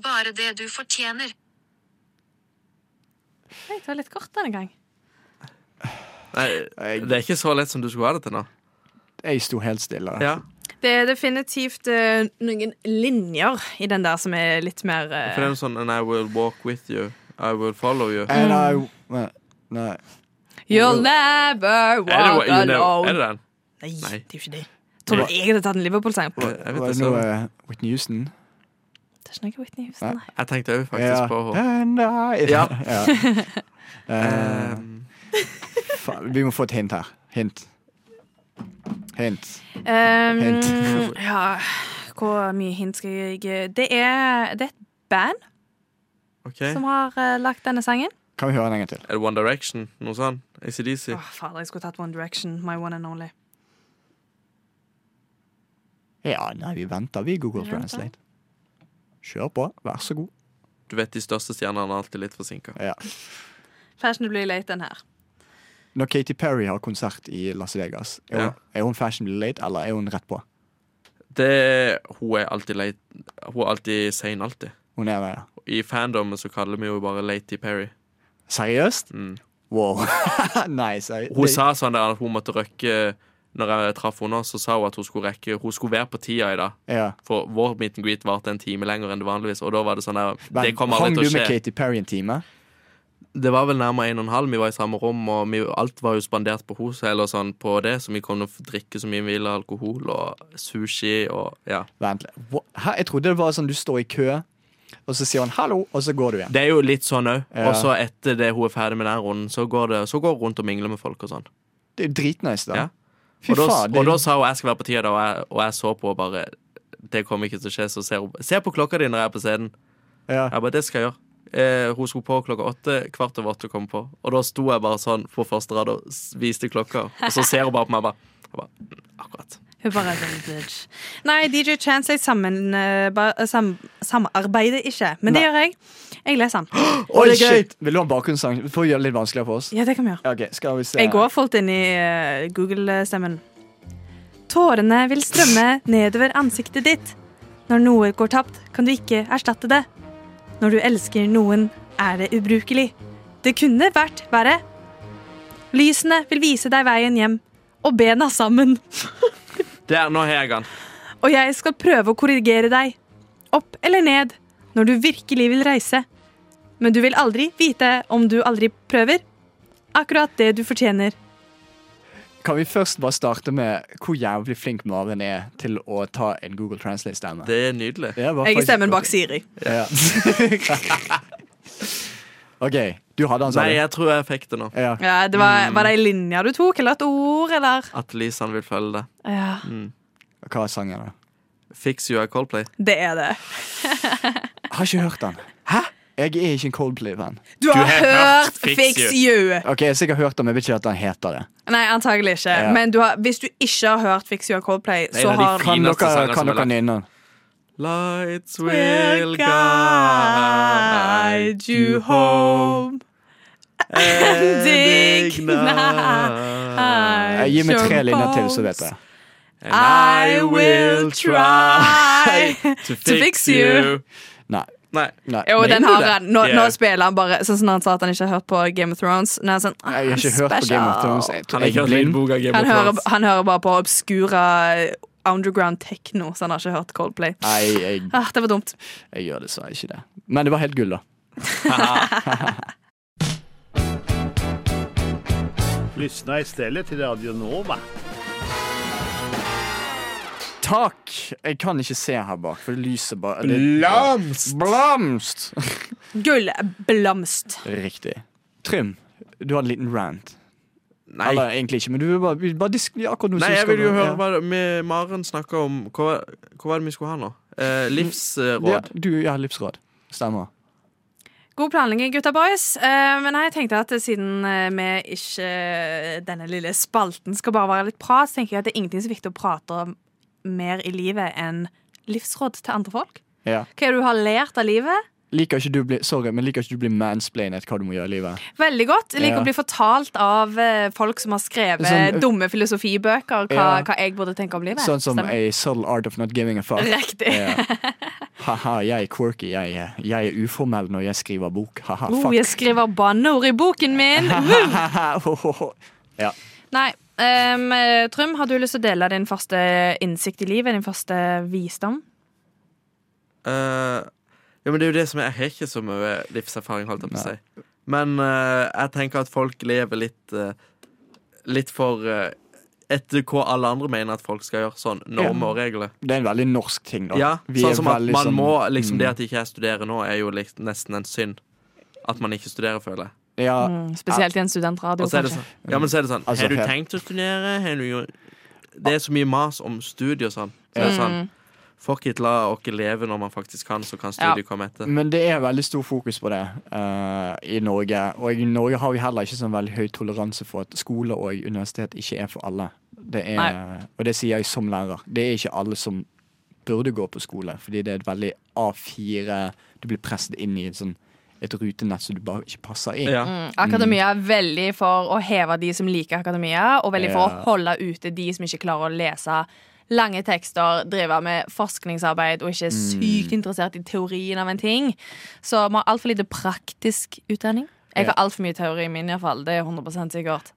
S11: Bare det du fortjener.
S5: Oi, det var litt kort denne gang.
S6: Nei, det er ikke så lett som du skulle ha det til nå.
S4: Jeg sto helt stille.
S6: Ja.
S5: Det er definitivt eh, noen linjer i den der som er litt mer eh,
S6: For det er noe sånn And I will walk with you. I will follow you.
S4: And
S5: Mm.
S4: I... Nei. nei.
S5: You'll never walk
S6: Er det, you know, er
S5: alone.
S6: det den?
S5: Nei, det
S6: Nei.
S5: er jo ikke det. Tror du jeg hadde tatt en Liverpool-sang? Det
S6: Jeg,
S4: Var
S6: vet
S4: det
S6: det,
S4: noe
S6: så.
S4: eh, Whitney Houston?
S5: er ikke noe Whitney Houston, nei.
S6: jeg tenkte òg faktisk
S4: ja.
S6: på henne.
S4: And I... <laughs>
S6: Ja.
S5: <laughs>
S4: Eh,
S6: Um,
S4: faen, vi må få et hint her. Hint. Hint.
S5: Um, ja, hvor mye hint skal jeg gi? Det er, det er et band
S6: OK.
S5: som har eh, lagt denne sangen.
S4: Kan vi høre den en gang til?
S6: Er det One Direction? Noe sånt? ACDC?
S5: Åh, fader, jeg skulle tatt One Direction. My one and only.
S4: Ja, nei, vi venter. Vi Google
S5: Vi venter.
S4: Translate. Kjør på. Vær så god.
S6: Du vet de største stjernene er alltid litt forsinka.
S4: Ja.
S5: Fashionably late, den her.
S4: Når Katy Perry har konsert i Las Vegas, er,
S6: Ja.
S4: hun, er hun fashionably late, eller er hun rett på?
S6: Hun er alltid late. Hun er alltid sein, alltid.
S4: Hun er der.
S6: I fandomen så kaller vi jo bare Lady Perry.
S4: Seriøst?
S6: Mm.
S4: Wow. <laughs> nei, seri
S6: Hun
S4: det-
S6: sa sånn der at hun måtte røkke Når jeg traff henne, så sa hun at hun skulle rekke Hun skulle være på tida i dag.
S4: ja.
S6: For vår meet and greet varte en time lenger enn det vanligvis. Og da var det sånn der,
S4: Men,
S6: det kommer aldri
S4: Hang
S6: til
S4: du
S6: å
S4: med
S6: skje.
S4: Katy Perry en time?
S6: Det var vel nærmere en og en halv. Vi var i samme rom, og vi, alt var jo spandert på hos, eller sånn på det, så vi kunne f- drikke så mye vi ville. Alkohol og sushi og ja.
S4: Vent litt. Hva- Hæ? Jeg trodde det var sånn du står i kø, og så sier hun hallo, og så går du igjen.
S6: Det er jo litt sånn òg.
S4: Ja.
S6: Og så etter det hun er ferdig med den runden, så går, det, så går hun rundt og mingler med folk og sånn.
S4: Det er jo dritnice, da.
S6: Ja.
S4: Fy
S6: og, da,
S4: faen.
S6: og da
S4: Det,
S6: sa hun jeg skal være på tida, da, og jeg, og jeg så på og bare Det kommer ikke til å skje. Så ser hun Se på klokka di når jeg er på scenen.
S4: ja.
S6: Jeg bare, det skal jeg gjøre. Eh, hun skulle på klokka åtte, kvart over åtte kom på. Og da sto jeg bare sånn på første rad og s- viste klokka, og så ser hun bare på meg. Bare, jeg bare, mm, akkurat.
S5: Hun bare er en bitch. Nei, DJ Chance jeg sammen, eh, ba- sam, samarbeider ikke, men det gjør jeg. Jeg leser den.
S4: Oi,
S6: det er gøy!
S4: shit! Vil du ha en bakgrunnssang? For å gjøre det litt vanskeligere for oss.
S5: Ja, det kan vi gjøre.
S4: Ja, Ok, skal vi se.
S5: Jeg går fullt inn i eh, Google-stemmen. Tårene vil strømme nedover ansiktet ditt. Når noe går tapt, kan du ikke erstatte det. Når du elsker noen, er det ubrukelig. Det kunne vært verre. Lysene vil vise deg veien hjem, og bena sammen.
S6: Der, nå har jeg den.
S5: Og jeg skal prøve å korrigere deg. Opp eller ned, når du virkelig vil reise. Men du vil aldri vite om du aldri prøver. Akkurat det du fortjener.
S4: Kan vi først bare starte med hvor jævlig flink Maren er til å ta en Google Translate-stemme?
S6: Det er nydelig.
S4: Det var
S5: Jeg er
S4: faktisk-
S5: stemmen bak Siri.
S4: Ja. <laughs> OK. Du hadde den, sa
S6: Nei,
S4: du?
S6: jeg tror jeg fikk det nå.
S4: Ja.
S5: Ja, det var, var det ei linje du tok, eller et ord, eller? Mm.
S6: At Lisan vil følge det.
S5: Ja,
S4: Hva er sangen, da?
S6: Fix you a Coldplay.
S5: det er det.
S4: Jeg har ikke hørt den. Hæ? Jeg er ikke en Coldplay-venn.
S5: Du har hørt
S6: Fix
S5: Fix You!
S4: Ok, Jeg har sikkert hørt den, men jeg vet ikke at den heter det.
S5: Nei, antagelig ikke.
S4: Ja.
S5: Men du har, hvis du ikke har hørt Fix You av Coldplay,
S6: er
S5: så
S6: en av de
S5: har
S4: Kan
S6: Fineste
S4: dere,
S6: sanger
S4: kan
S6: som er
S4: dere
S6: lagt.
S4: nynne den?
S6: Lights will guide you <laughs> home.
S5: Dignize
S4: Eh, Gi meg tre
S5: your
S4: linjer til, så
S5: bones.
S4: vet jeg.
S6: And <laughs> I will try to fix you.
S4: Nei.
S6: Nei.
S5: Jo,
S6: Mener
S5: den
S6: du
S5: har
S6: det?
S5: han. Nå,
S6: Det-
S5: nå spiller han bare sånn som når han sa at han ikke har hørt på Game of Thrones. Nå er han sånn, ah,
S4: Jeg har ikke hørt på Game of Thrones. Jeg tror
S6: Han har
S4: jeg er
S6: ikke hatt
S4: blind.
S6: lydbok av Game
S5: Han
S6: of
S5: hører,
S6: Thrones.
S5: han hører bare på obskura underground techno, så han har ikke hørt Coldplay.
S4: Nei, jeg,
S5: Ah, det var dumt.
S4: jeg gjør dessverre ikke det. Men det var helt gull, da.
S10: Lyssna istället till Radio Nova.
S4: Tak! Jeg kan ikke se her bak, for det lyser bare det,
S12: Blomst!
S4: Blomst!
S5: Gullblomst.
S4: Riktig. Trym, du hadde en liten rant. Nei. Eller egentlig ikke, men du vil bare, vi bare disk, ja, akkurat nå
S6: Nei,
S4: så
S6: jeg
S4: skal
S6: vil jo
S4: du-
S6: høre
S4: ja.
S6: hva vi- Maren snakka om. Hva, hva var det vi skulle ha nå? Eh, livsråd.
S4: Ja, du, ja, livsråd. Stemmer.
S5: God planlegging, gutta boys. Eh, men jeg tenkte at siden eh, vi ikke eh, denne lille spalten skal bare være litt prat, så tenker jeg at det er ingenting så viktig å prate om mer i livet enn livsråd til andre folk.
S4: Ja.
S5: Hva er det du har lært av livet?
S4: Liker ikke du bli, sorry, men liker ikke du bli mansplainet hva du må gjøre i livet?
S5: Veldig godt. Jeg
S4: Ja.
S5: liker å bli fortalt av eh, folk som har skrevet
S4: Sånn-
S5: dumme filosofibøker, hva,
S4: Ja.
S5: hva jeg burde tenke om livet.
S4: Sånn som
S5: Stemmer.
S4: A Subtle Art of Not Giving a Fuck.
S5: <laughs> Riktig.
S4: Ja. Haha, jeg er quirky. Jeg, er- jeg er uformell når jeg skriver bok. Haha,
S5: Oh,
S4: fuck.
S5: jeg skriver banneord i boken min!
S4: <laughs>
S5: <laughs> Woo!
S4: ja.
S5: Nei. ehm, eh, Trym, har du lyst til å dele din første innsikt i livet? Din første visdom?
S6: Eh, ja, men det er jo det som er Jeg har ikke så mye livserfaring, holdt jeg på å si. Men eh, jeg tenker at folk lever litt eh, Litt for eh, etter hva alle andre mener at folk skal gjøre. Sånn normer og regler.
S4: Det er en veldig norsk ting, da.
S6: Ja,
S4: Vi er
S6: sånn som at
S4: veldig
S6: man
S4: sånn-
S6: må liksom Det
S4: Mm.
S6: at ikke jeg studerer nå, er jo liks- nesten en synd. At man ikke studerer, føler jeg.
S4: Ja.
S5: Mm, spesielt i en studentradio,
S6: Og så er det
S5: kanskje.
S6: sånn, ja, men så er det sånn
S4: Altså,
S6: Har du
S4: helt-
S6: tenkt å studere? Har du gjort Det er så mye mas om studie og sånn. Så er det
S5: Ja.
S6: sånn Fuck it, la oss leve når man faktisk kan, så kan studiet komme
S5: Mm.
S6: etter.
S4: Men det er veldig stor fokus på det eh, i Norge. Og i Norge har vi heller ikke sånn veldig høy toleranse for at skole og universitet ikke er for alle. Det er,
S5: Nei.
S4: og det sier jeg som lærer. Det er ikke alle som burde gå på skole, fordi det er et veldig A4 Du blir presset inn i et, sånn, et rutenett som du bare ikke passer i.
S5: Mm, akademia er veldig for å heve de som liker akademia, og veldig for
S4: Ja.
S5: å holde ute de som ikke klarer å lese lange tekster, drive med forskningsarbeid og ikke er
S4: Mm.
S5: sykt interessert i teorien av en ting. Så vi har altfor lite praktisk utdanning. Jeg har
S4: Ja.
S5: altfor mye teori i min, iallfall. Det er 100 sikkert.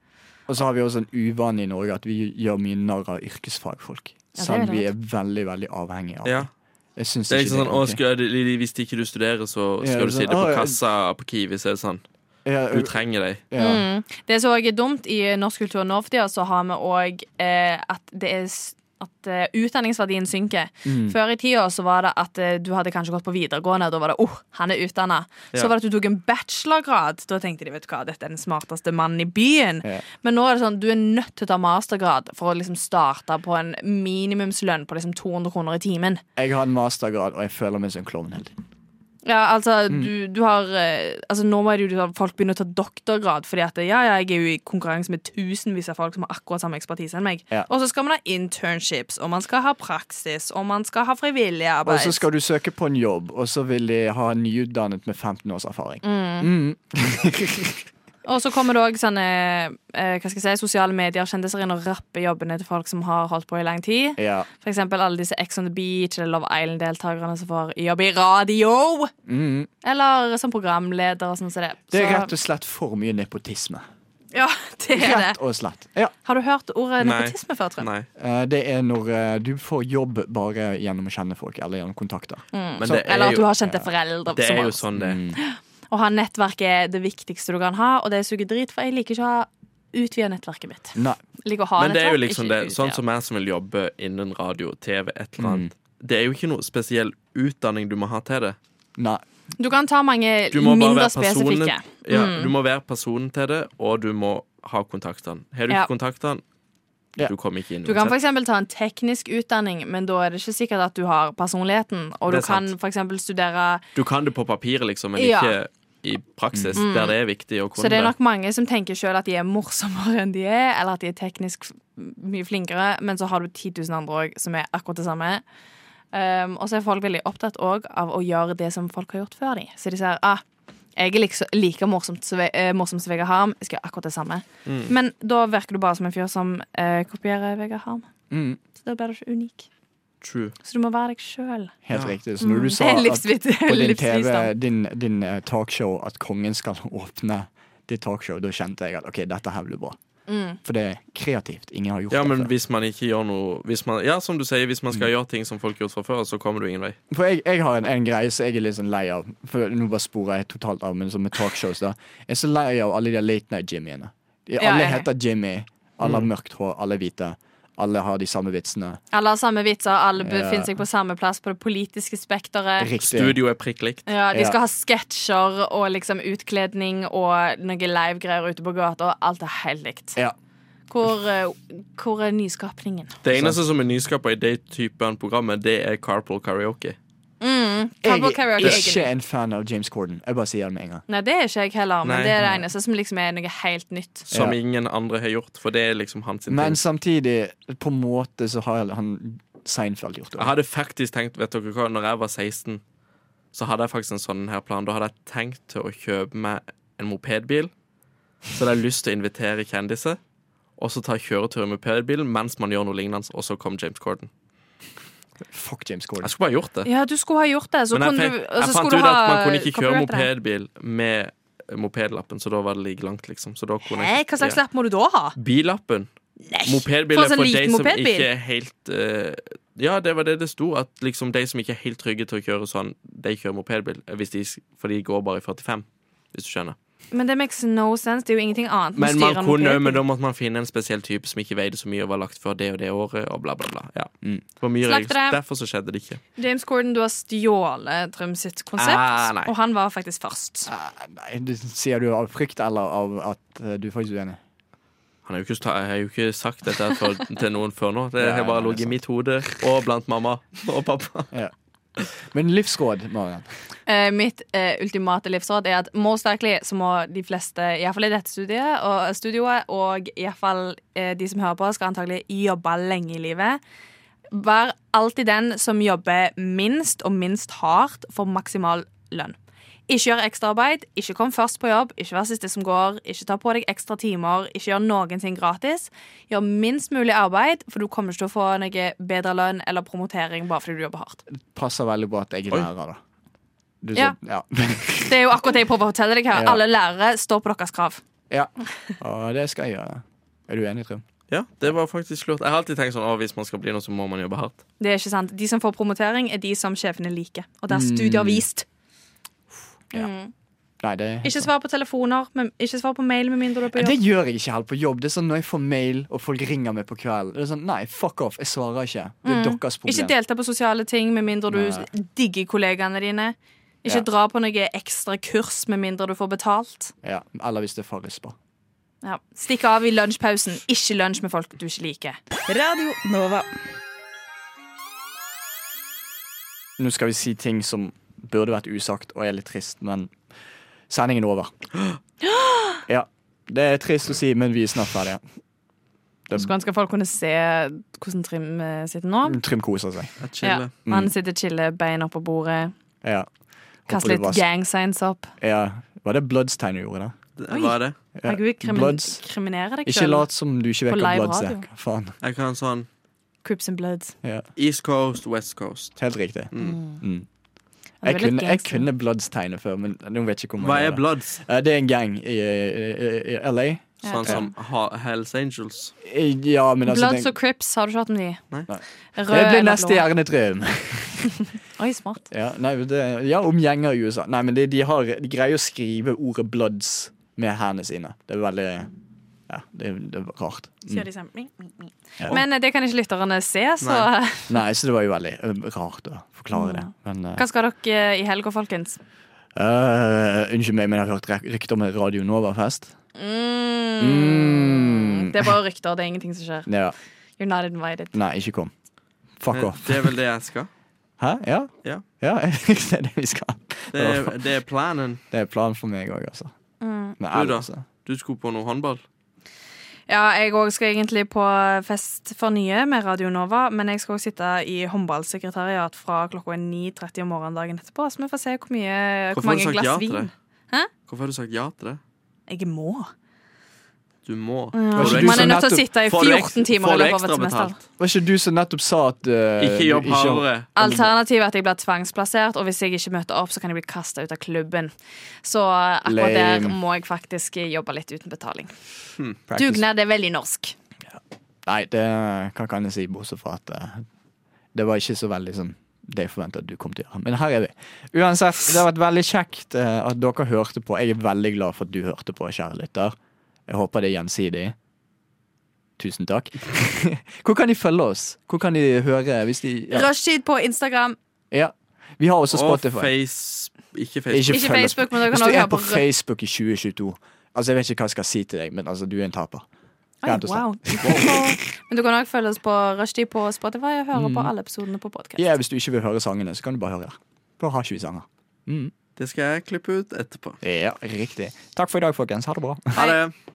S4: Og så har vi også en uvane i Norge at vi gjør mye narr av yrkesfagfolk.
S5: Ja, det er
S4: selv om
S5: veldig
S4: vi er veldig, veldig avhengige av
S6: Ja.
S4: det. Jeg syns
S6: Det
S4: ikke
S6: er liksom sånn,
S4: det
S6: å,
S4: er ok.
S6: skal, jeg- Hvis ikke du studerer, så
S4: Ja,
S6: skal du
S4: det er
S6: sitte
S4: sånn, «Å,
S6: på
S4: ja,
S6: kassa på Kiwi. Så er det sånn
S4: Ja,
S6: Du trenger deg.
S4: ja.
S5: Mm. Det som òg er dumt i norsk kultur nå for tida, så har vi òg eh, at det er s- at eh, utdanningsverdien synker.
S4: Mm.
S5: Før i tida så var det at eh, du hadde kanskje gått på videregående. Da var det 'oh, han er utdanna'. Så
S6: Ja.
S5: var det at du tok en bachelorgrad. Da tenkte de 'vet du hva, dette er den smarteste mannen i byen'.
S4: Ja.
S5: Men nå er det sånn du er nødt til å ta mastergrad for å liksom starte på en minimumslønn på liksom 200 kroner i timen.
S4: Jeg har en mastergrad, og jeg føler meg som en klovn hele tiden.
S5: Ja, altså,
S4: Mm.
S5: du, du har eh, altså, Nå må det jo at folk begynne å ta doktorgrad, fordi at ja, ja, jeg er jo i konkurranse med tusenvis av folk som har akkurat samme ekspertise enn meg.
S4: Ja.
S5: Og så skal man ha internships, og man skal ha praksis, og man skal ha frivillig
S4: Og
S5: arbeid.
S4: så skal du søke på en jobb, og så vil de ha en nyutdannet med 15 års erfaring. Mm.
S5: Og så kommer det òg sånne eh, hva skal jeg si, sosiale medier, kjendiser inn og rapper jobbene til folk som har holdt på i lang tid.
S4: Ja.
S5: For eksempel alle disse Ex on the Beach eller Love Island-deltakerne som får jobb i radio!
S4: Mm.
S5: Eller som programleder og sånn som det.
S4: Det er
S5: Så-
S4: rett og slett for mye nepotisme.
S5: <laughs> Ja, det er
S4: Rett
S5: det.
S4: og slett. Ja.
S5: Har du hørt ordet
S6: Nei.
S5: nepotisme før, Trym?
S6: Nei.
S4: Eh, Det er når eh, du får jobb bare gjennom å kjenne folk, eller gjennom kontakter.
S6: Men
S4: Så-
S6: det
S5: Mm. Eller
S6: er
S5: at du
S6: jo,
S5: har Mm. kjente foreldre.
S6: det
S5: som
S6: er
S5: har-
S6: jo sånn Mm. det er.
S4: Mm.
S5: Å ha nettverk er det viktigste du kan ha, og det suger drit, for jeg liker ikke å ha utvida nettverket mitt.
S4: Nei.
S5: Jeg liker å ha
S6: Men det er jo
S5: nettverk,
S6: liksom
S5: ikke
S6: det. Sånn
S5: utvide.
S6: som jeg som vil jobbe innen radio, TV, et eller annet.
S5: Mm.
S6: Det er jo ikke noe spesiell utdanning du må ha til det.
S4: Nei.
S5: Du kan ta mange
S6: Du må bare
S5: mindre
S6: være personen,
S5: spesifikke.
S6: ja,
S5: Mm.
S6: du må være personen til det, og du må ha kontaktene. Har du
S5: Ja.
S6: ikke kontaktene,
S4: Ja.
S6: du kommer ikke inn.
S5: Du kan
S6: uansett.
S5: f.eks. ta en teknisk utdanning, men da er det ikke sikkert at du har personligheten. Og du
S6: Det er
S5: kan
S6: sant.
S5: f.eks. studere
S6: Du kan det på papiret, liksom, men
S5: Ja. Mm.
S6: ikke i praksis, der det er viktig å kunne
S5: Så det er nok mange som tenker sjøl at de er morsommere enn de er, eller at de er teknisk f- mye flinkere, men så har du 10 000 andre òg som er akkurat det samme. Um, og så er folk veldig opptatt òg av å gjøre det som folk har gjort før de. Så de sier ah, jeg er liksom, like morsomt som Ve- eh, morsom som Vegard Harm, jeg skal gjøre akkurat det samme.
S6: Mm.
S5: Men da virker du bare som en fyr som eh, kopierer Vegard Harm.
S4: Mm.
S5: Så da blir du ikke unik.
S6: True.
S5: Så du må være deg sjøl.
S4: Helt riktig. Så når du
S5: Mm.
S4: sa
S5: Det er
S4: at
S5: livsvit-
S4: på din TV,
S5: livsvisdom.
S4: din, din eh, talkshow, at kongen skal <laughs> åpne ditt talkshow, da kjente jeg at OK, dette her blir bra.
S5: Mm.
S4: For det er kreativt. Ingen har gjort
S6: Ja,
S4: det
S6: men hvis man ikke gjør noe hvis man, Ja, som du sier, hvis man
S4: Mm.
S6: skal gjøre ting som folk har gjort fra før, så kommer du ingen vei.
S4: For jeg, jeg har en, en greie som jeg er litt sånn lei av. For Nå bare sporer jeg totalt av, men som med talkshows. da Jeg er så lei av alle de late night Jimmyene. De,
S5: Ja,
S4: alle
S5: jeg-
S4: heter Jimmy. Alle har mørkt hår. Alle er hvite. Alle har de samme vitsene.
S5: Alle har samme vitser, alle
S4: Ja.
S5: befinner seg på samme plass på det politiske spekteret.
S4: Riktig.
S6: Studio er prikk likt.
S5: Ja, De skal
S4: Ja.
S5: ha sketsjer og liksom utkledning og noe livegreier ute på gata. og Alt er helt likt.
S4: Ja.
S5: Hvor, eh, hvor er nyskapningen?
S6: Det eneste som er nyskapa i det typen programmet, det er Carpool Karaoke.
S5: Mm,
S4: Jeg
S5: Cowboy
S4: er
S5: karaoke
S4: ikke
S5: egentlig.
S4: en fan av James Corden. Jeg bare sier det med en gang.
S5: Nei, det er ikke jeg heller, men
S6: Nei.
S5: det er det eneste som liksom er noe helt nytt.
S6: Som
S4: Ja.
S6: ingen andre har gjort, for det er liksom hans sin
S4: Men
S6: ting.
S4: samtidig, på en måte, så har han Seinfeld gjort det.
S6: Jeg hadde faktisk tenkt, vet dere hva, når jeg var 16, så hadde jeg faktisk en sånn her plan. Da hadde jeg tenkt til å kjøpe meg en mopedbil. Så hadde jeg lyst til å invitere kjendiser, og så ta kjøretur i mopedbilen mens man gjør noe lignende, og så kom James Corden.
S4: Fuck James Corden.
S6: Jeg skulle bare gjort det.
S5: Ja, du skulle ha gjort det. Så
S6: Men jeg,
S5: kunne du,
S6: fikk,
S5: og så
S6: jeg fant
S5: skulle
S6: ut
S5: du
S6: at
S5: ha
S6: man kunne ikke kjøre
S5: copyright det.
S6: mopedbil med mopedlappen, så da var det like langt, liksom. Så da kunne
S5: Hæ,
S6: jeg
S5: hva
S6: ikke-
S5: slags lapp må du da ha?
S6: Bilappen. Mopedbil
S5: For
S6: er
S5: en sånn
S6: for de
S5: liten
S6: som
S5: mopedbil.
S6: ikke er helt eh, Ja, det var det det sto, at liksom de som ikke er helt trygge til å kjøre sånn, de kjører mopedbil, eh, hvis de, s- for de går bare i 45, hvis du skjønner.
S5: Men det makes no sense. Det er jo ingenting annet. enn å
S6: Men man
S5: styre en
S6: kunne
S5: mopedbil.
S6: men da måtte man finne en spesiell type som ikke veide så mye og var lagt før det og det året, og bla, bla, bla. Ja.
S5: Mm.
S6: Det var mye
S5: Slakt
S6: regler, så
S5: det.
S6: derfor så skjedde det ikke.
S5: James Corden, du har stjålet Trym sitt konsept,
S6: Ah, nei.
S5: og han var faktisk først.
S4: Nei, du, sier du av frykt eller av at eh, du er faktisk uenig?
S6: Han har jo ikke, sta- jeg har jo ikke sagt dette her for, <laughs> til noen før nå. Det har
S4: Nei,
S6: bare
S4: nei,
S6: ligget i
S4: sant.
S6: mitt hode og blant mamma og pappa.
S4: Ja. Men livsråd, Marian.
S5: Eh, mitt eh, ultimate livsråd er at most likely så må de fleste, iallfall i dette studiet, og, eh, studioet, og iallfall eh, de som hører på, skal antagelig jobbe lenge i livet. Vær alltid den som jobber minst og minst hardt for maksimal lønn. Ikke gjør ekstraarbeid, ikke kom først på jobb, ikke vær siste som går, ikke ta på deg ekstra timer, ikke gjør noen ting gratis. Gjør minst mulig arbeid, for du kommer ikke til å få noe bedre lønn eller promotering bare fordi du jobber hardt.
S4: Passer veldig bra at jeg er lærer, da. Du,
S5: Ja.
S4: så- ja. <laughs>
S5: Det er jo akkurat det jeg prøver å fortelle deg her.
S4: Ja.
S5: Alle lærere står på deres krav.
S4: ja.
S5: <laughs>
S4: Og det skal jeg gjøre. Er du enig, Trym?
S6: Ja, det var faktisk lurt. Jeg har alltid tenkt sånn, å, hvis man skal bli noe, så må man jobbe hardt.
S5: Det er ikke sant. De som får promotering, er de som sjefene liker. Og det har studier vist. Mm.
S4: Nei, det er helt
S5: Ikke
S4: sant.
S5: svar på telefoner, men ikke svar på mail med mindre du er på
S4: Det
S5: jobb.
S4: gjør jeg ikke helt på jobb. Det er sånn Når jeg får mail og folk ringer meg på kvelden Det er sånn, Nei, fuck off. Jeg svarer ikke. Det er
S5: Mm.
S4: deres
S5: Ikke
S4: problem.
S5: delta på sosiale ting med mindre du
S4: Nei.
S5: digger kollegaene dine. Ikke
S4: Ja.
S5: dra på noe ekstra kurs med mindre du får betalt.
S4: Ja. Eller hvis det er farrispa.
S5: Ja. Stikk av i lunsjpausen. Ikke lunsj med folk du ikke liker.
S9: Radio Nova.
S4: Nå skal vi si ting som burde vært usagt og er litt trist, men sendingen er
S5: <gasps>
S4: over. Ja. Det er trist å si, men vi er snart ferdige.
S5: Skulle ønske folk kunne se hvordan Trym eh, sitter nå.
S4: Trym koser seg.
S5: Ja.
S4: Mm.
S5: Han sitter chille, beina på bordet.
S4: Ja.
S5: Kaste
S4: Håper det
S5: litt
S4: var-
S5: gang signs opp.
S4: ja. Var det Bloodstain du gjorde, da?
S6: Det var det.
S4: Ja.
S5: Herregud, krimin
S4: Bloods.
S5: kriminere deg
S4: Ikke
S5: sjøl.
S4: lat som du ikke vet
S5: På
S4: hva
S5: live
S4: Bloods er.
S5: radio.
S4: Hva Faen.
S6: Jeg kan sånn
S5: Crips and Bloods.
S4: Ja.
S6: East Coast, West Coast.
S4: Helt riktig. Mm.
S5: Ja, Altså, det
S4: Jeg,
S5: var litt
S4: kunne, jeg
S5: gangster.
S4: kunne Bloods-tegnet før, men nå vet jeg ikke hvor
S6: Hva
S4: mange
S6: er
S4: det
S6: Bloods?
S4: Eh, Det er en gang i, i, i LA.
S6: Sånn som ha Hells Angels.
S4: Eh, Ja, men altså
S5: Bloods
S4: den-
S5: og Crips, har du ikke hørt om de?
S6: Nei.
S4: Nei.
S5: Rød
S4: Det blir
S5: eller
S4: neste
S5: blå?
S4: hjernetrym.
S5: Oi, smart.
S4: <laughs> Ja, nei, det, ja, om gjenger i USA. Nei, men de, de, har, de greier å skrive ordet 'bloods' med hendene sine. Det er veldig Ja, det, er- det er rart.
S5: Så gjør de sånn, ming, ming, ming. Men eh, det kan ikke lytterne se, så
S4: Mm. Nei, så det var jo veldig eh, rart å forklare det. Men eh,
S5: <laughs> hva skal dere eh, i helga, folkens?
S4: eh, Unnskyld meg, men jeg har hørt rek- rykter om en Radio Nova-fest.
S5: Mm. Det er bare rykter, det er ingenting som skjer.
S4: Ja.
S5: You're not invited.
S4: Nei, ikke kom. Fuck
S6: Eh,
S4: off.
S6: Det er vel det jeg <laughs> skal.
S4: Hæ? Ja? <laughs>
S6: Ja.
S4: det er det vi skal.
S6: Det er, det er planen.
S4: Det er planen for meg òg, altså. Men
S6: Du da?
S4: ellers, eh,
S6: Du skulle på noe håndball.
S5: Ja, jeg òg skal egentlig på Fest for nye med Radio Nova, men jeg skal òg sitte i håndballsekretariat fra klokka er 9.30 om morgenen dagen etterpå, så vi får se hvor, mye, hvor
S6: Hvorfor har du
S5: mange
S6: sagt ja
S5: glass
S6: til det?
S5: vin. Hæ?
S6: Hvorfor har du sagt ja til det?
S5: Jeg må.
S6: Du må.
S5: Ja.
S6: Får du
S5: Man er
S6: ekstra-
S5: nødt til å sitte i
S6: Får du ekstra-
S5: 14 timer i
S6: får du
S5: løpet av et
S6: ekstra
S5: semester.
S6: betalt? Mm.
S4: Var ikke du som nettopp sa at eh,
S6: Ikke
S4: du
S6: jobb
S4: har-
S6: hardere.
S5: Alternativet er at jeg blir tvangsplassert, og hvis jeg ikke møter opp, så kan jeg bli kasta ut av klubben. Så eh, akkurat der
S4: Lame.
S5: må jeg faktisk jobbe litt uten betaling.
S4: Hmm, practice.
S5: Dugnad er veldig norsk.
S4: Nei, det, hva kan jeg si, bortsett fra at eh, det var ikke så veldig sånn det jeg forventa at du kom til å gjøre. Men her er vi. Uansett, det har vært veldig kjekt eh, at dere hørte på. Jeg er veldig glad for at du hørte på, kjære lytter. Jeg håper det er gjensidig. Tusen takk. <laughs> Hvor kan de følge oss? Hvor kan de høre hvis de ja.
S5: Rushtid på Instagram.
S4: ja. Vi har også
S6: Og
S4: Spotify.
S6: face... Ikke Facebook.
S5: Ikke
S4: følg oss.
S5: Facebook, men dere kan
S4: Hvis du
S5: også høre
S4: er
S5: på
S4: på
S5: Rød-
S4: Facebook i 2022 Altså, jeg vet ikke hva jeg skal si til deg, men altså, du er en taper.
S5: Oi,
S4: Rett og slett.
S5: wow. <laughs> Men du kan òg følge oss på Rushtid på Spotify og høre
S4: Mm.
S5: på alle episodene på podkast.
S4: Ja, hvis du ikke vil høre sangene, så kan du bare høre her. Da har ikke vi sanger.
S6: Det skal jeg klippe ut etterpå.
S4: Ja, riktig. Takk for i dag, folkens. Ha det bra.
S6: Ha det.